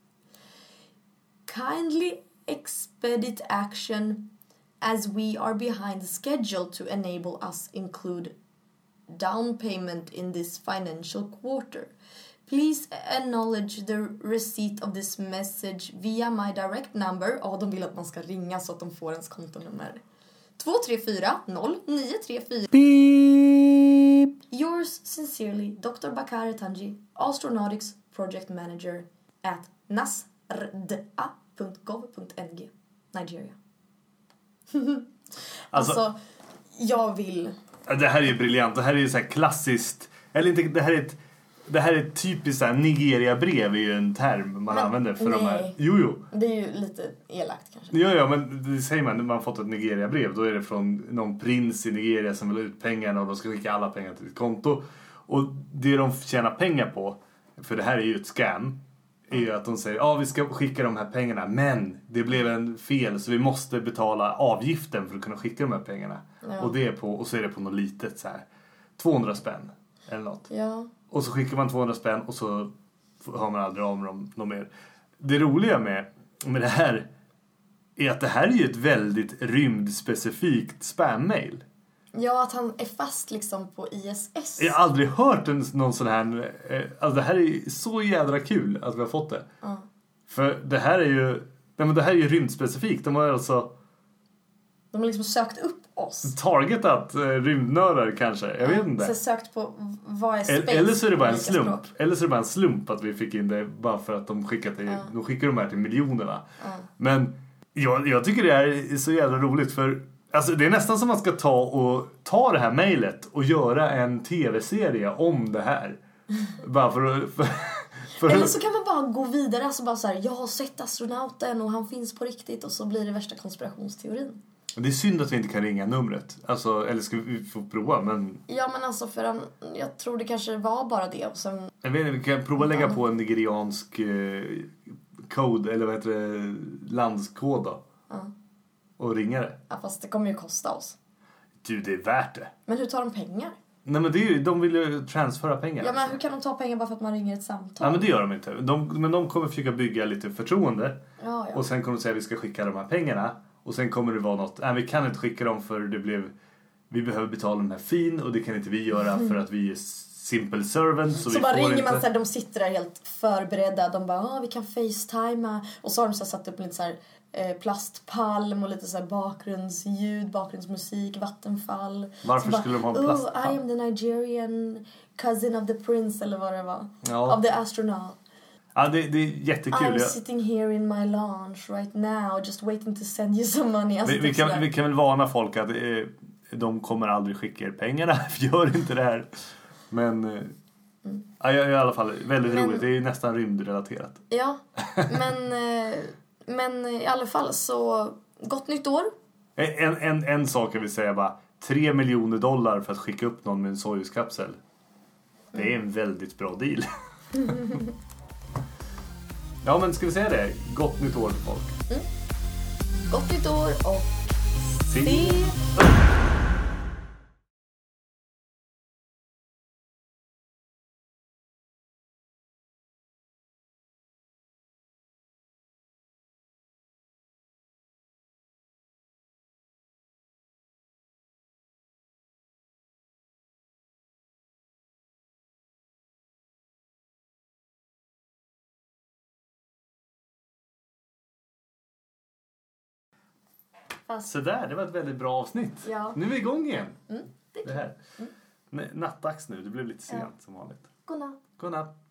Kindly expedite action as we are behind schedule to enable us include down payment in this financial quarter. Please acknowledge the receipt of this message via my direct number. Ja, de vill att man ska ringa så att de får ens kontonummer. 234 0934. Yours sincerely, Dr. Bakare Tanji, Astronautics Project Manager at nasrda.gov.ng, Nigeria. [laughs]
Alltså,
Alltså, jag vill...
det här är ju briljant. Det här är ju så här klassiskt... Eller inte, det här är ett... Det här är ett typiskt så här, Nigeria-brev är ju en term man
Men,
använder för de här...
nej.
Jo, jo.
Det är ju lite elakt kanske.
Ja, ja, men det säger man när man har fått ett Nigeria-brev. Då är det från någon prins i Nigeria som vill ha ut pengarna och de ska skicka alla pengar till ditt konto. Och det de tjänar pengar på, för det här är ju ett scam, är ju att de säger ja ah, vi ska skicka de här pengarna men det blev en fel så vi måste betala avgiften för att kunna skicka de här pengarna. Och, det är på, och så är det på något litet så här 200 spänn eller något.
Ja.
Och så skickar man 200 spänn och så hör man aldrig av dem något mer. Det roliga med, med det här är att det här är ju ett väldigt rymdspecifikt spammail.
Ja, att han är fast liksom på ISS.
Jag har aldrig hört en, någon sån här... eh, Alltså det här är så jädra kul att vi har fått det. För det här är ju... Nej men det här är ju rymdspecifikt. De har ju alltså
De har liksom sökt upp oss.
targetat eh, rymdnördar kanske. Jag vet inte.
Så sökt på v- vad är space?
El- Eller så är det bara en
på olika
slump.
språk.
Eller så är det bara en slump att vi fick in det bara för att de skickar, till, de, skickar de här till miljonerna. Men jag, jag tycker det här är så jävla roligt för alltså, det är nästan som man ska ta och ta det här mejlet och göra en tv-serie om
[laughs]
det här. bara för att... För, för
Eller så kan man bara gå vidare. Alltså bara så här, jag har sett astronauten och han finns på riktigt. Och så blir det värsta konspirationsteorin.
Det är synd att vi inte kan ringa numret. Alltså, eller ska vi få prova? Men
Ja, men alltså för han, jag tror det kanske var bara det. Och sen,
jag vet inte, vi kan prova lägga på en nigeriansk eh, code, eller vad heter det, landskod då. Och ringa det.
ja, fast det kommer ju kosta oss.
Du, det är värt det.
Men hur tar de pengar?
Nej men det är ju, de vill ju transfera pengar. alltså.
Ja, men hur kan de ta pengar bara för att man ringer ett samtal?
Nej men det gör de inte. De, men de kommer försöka bygga lite förtroende.
Ja, ja.
Och sen kommer de säga att vi ska skicka de här pengarna. Och sen kommer det vara något, nej vi kan inte skicka dem för det blev, vi behöver betala den här fin och det kan inte vi göra för att vi är simple servants.
Så,
vi
bara
får
ringer man
inte-
så här, de sitter där helt förberedda. De bara, ah, vi kan facetima. Och så har de så här, satt upp lite så här eh, plastpalm och lite så här bakgrundsljud, bakgrundsmusik, vattenfall.
Varför
så
skulle de ha en
Oh,
plastpalm?"
I am the Nigerian cousin of the prince eller vad det var.
Ja.
Of the astronaut.
Ja, det, det är jättekul.
I'm
Jag-
sitting here in my lounge right now just waiting to send you some money. Alltså,
Vi, vi,
typ
kan,
sådär.
vi kan väl varna folk att eh, de kommer aldrig skicka er pengarna. [laughs] Gör inte det här. Men eh, ja, jag är i alla fall väldigt
Mm. Men-
roligt. Det är ju nästan rymdrelaterat. [laughs]
Ja, men, eh, men i alla fall så gott nytt år.
En, en, en sak jag vill säga bara. 3 miljoner dollar för att skicka upp någon med en Soyuz-kapsel. Det är en väldigt bra deal. [laughs] ja, men ska vi säga det? Gott nytt år till folk.
Gott nytt år och
Se-
se Fast-
Så där, det var ett väldigt bra avsnitt.
Ja. Mm,
Nu är vi igång igen.
det är Mm.
det här. N- Nattdags nu, det blev lite sent som vanligt.
godnatt.
Godnatt.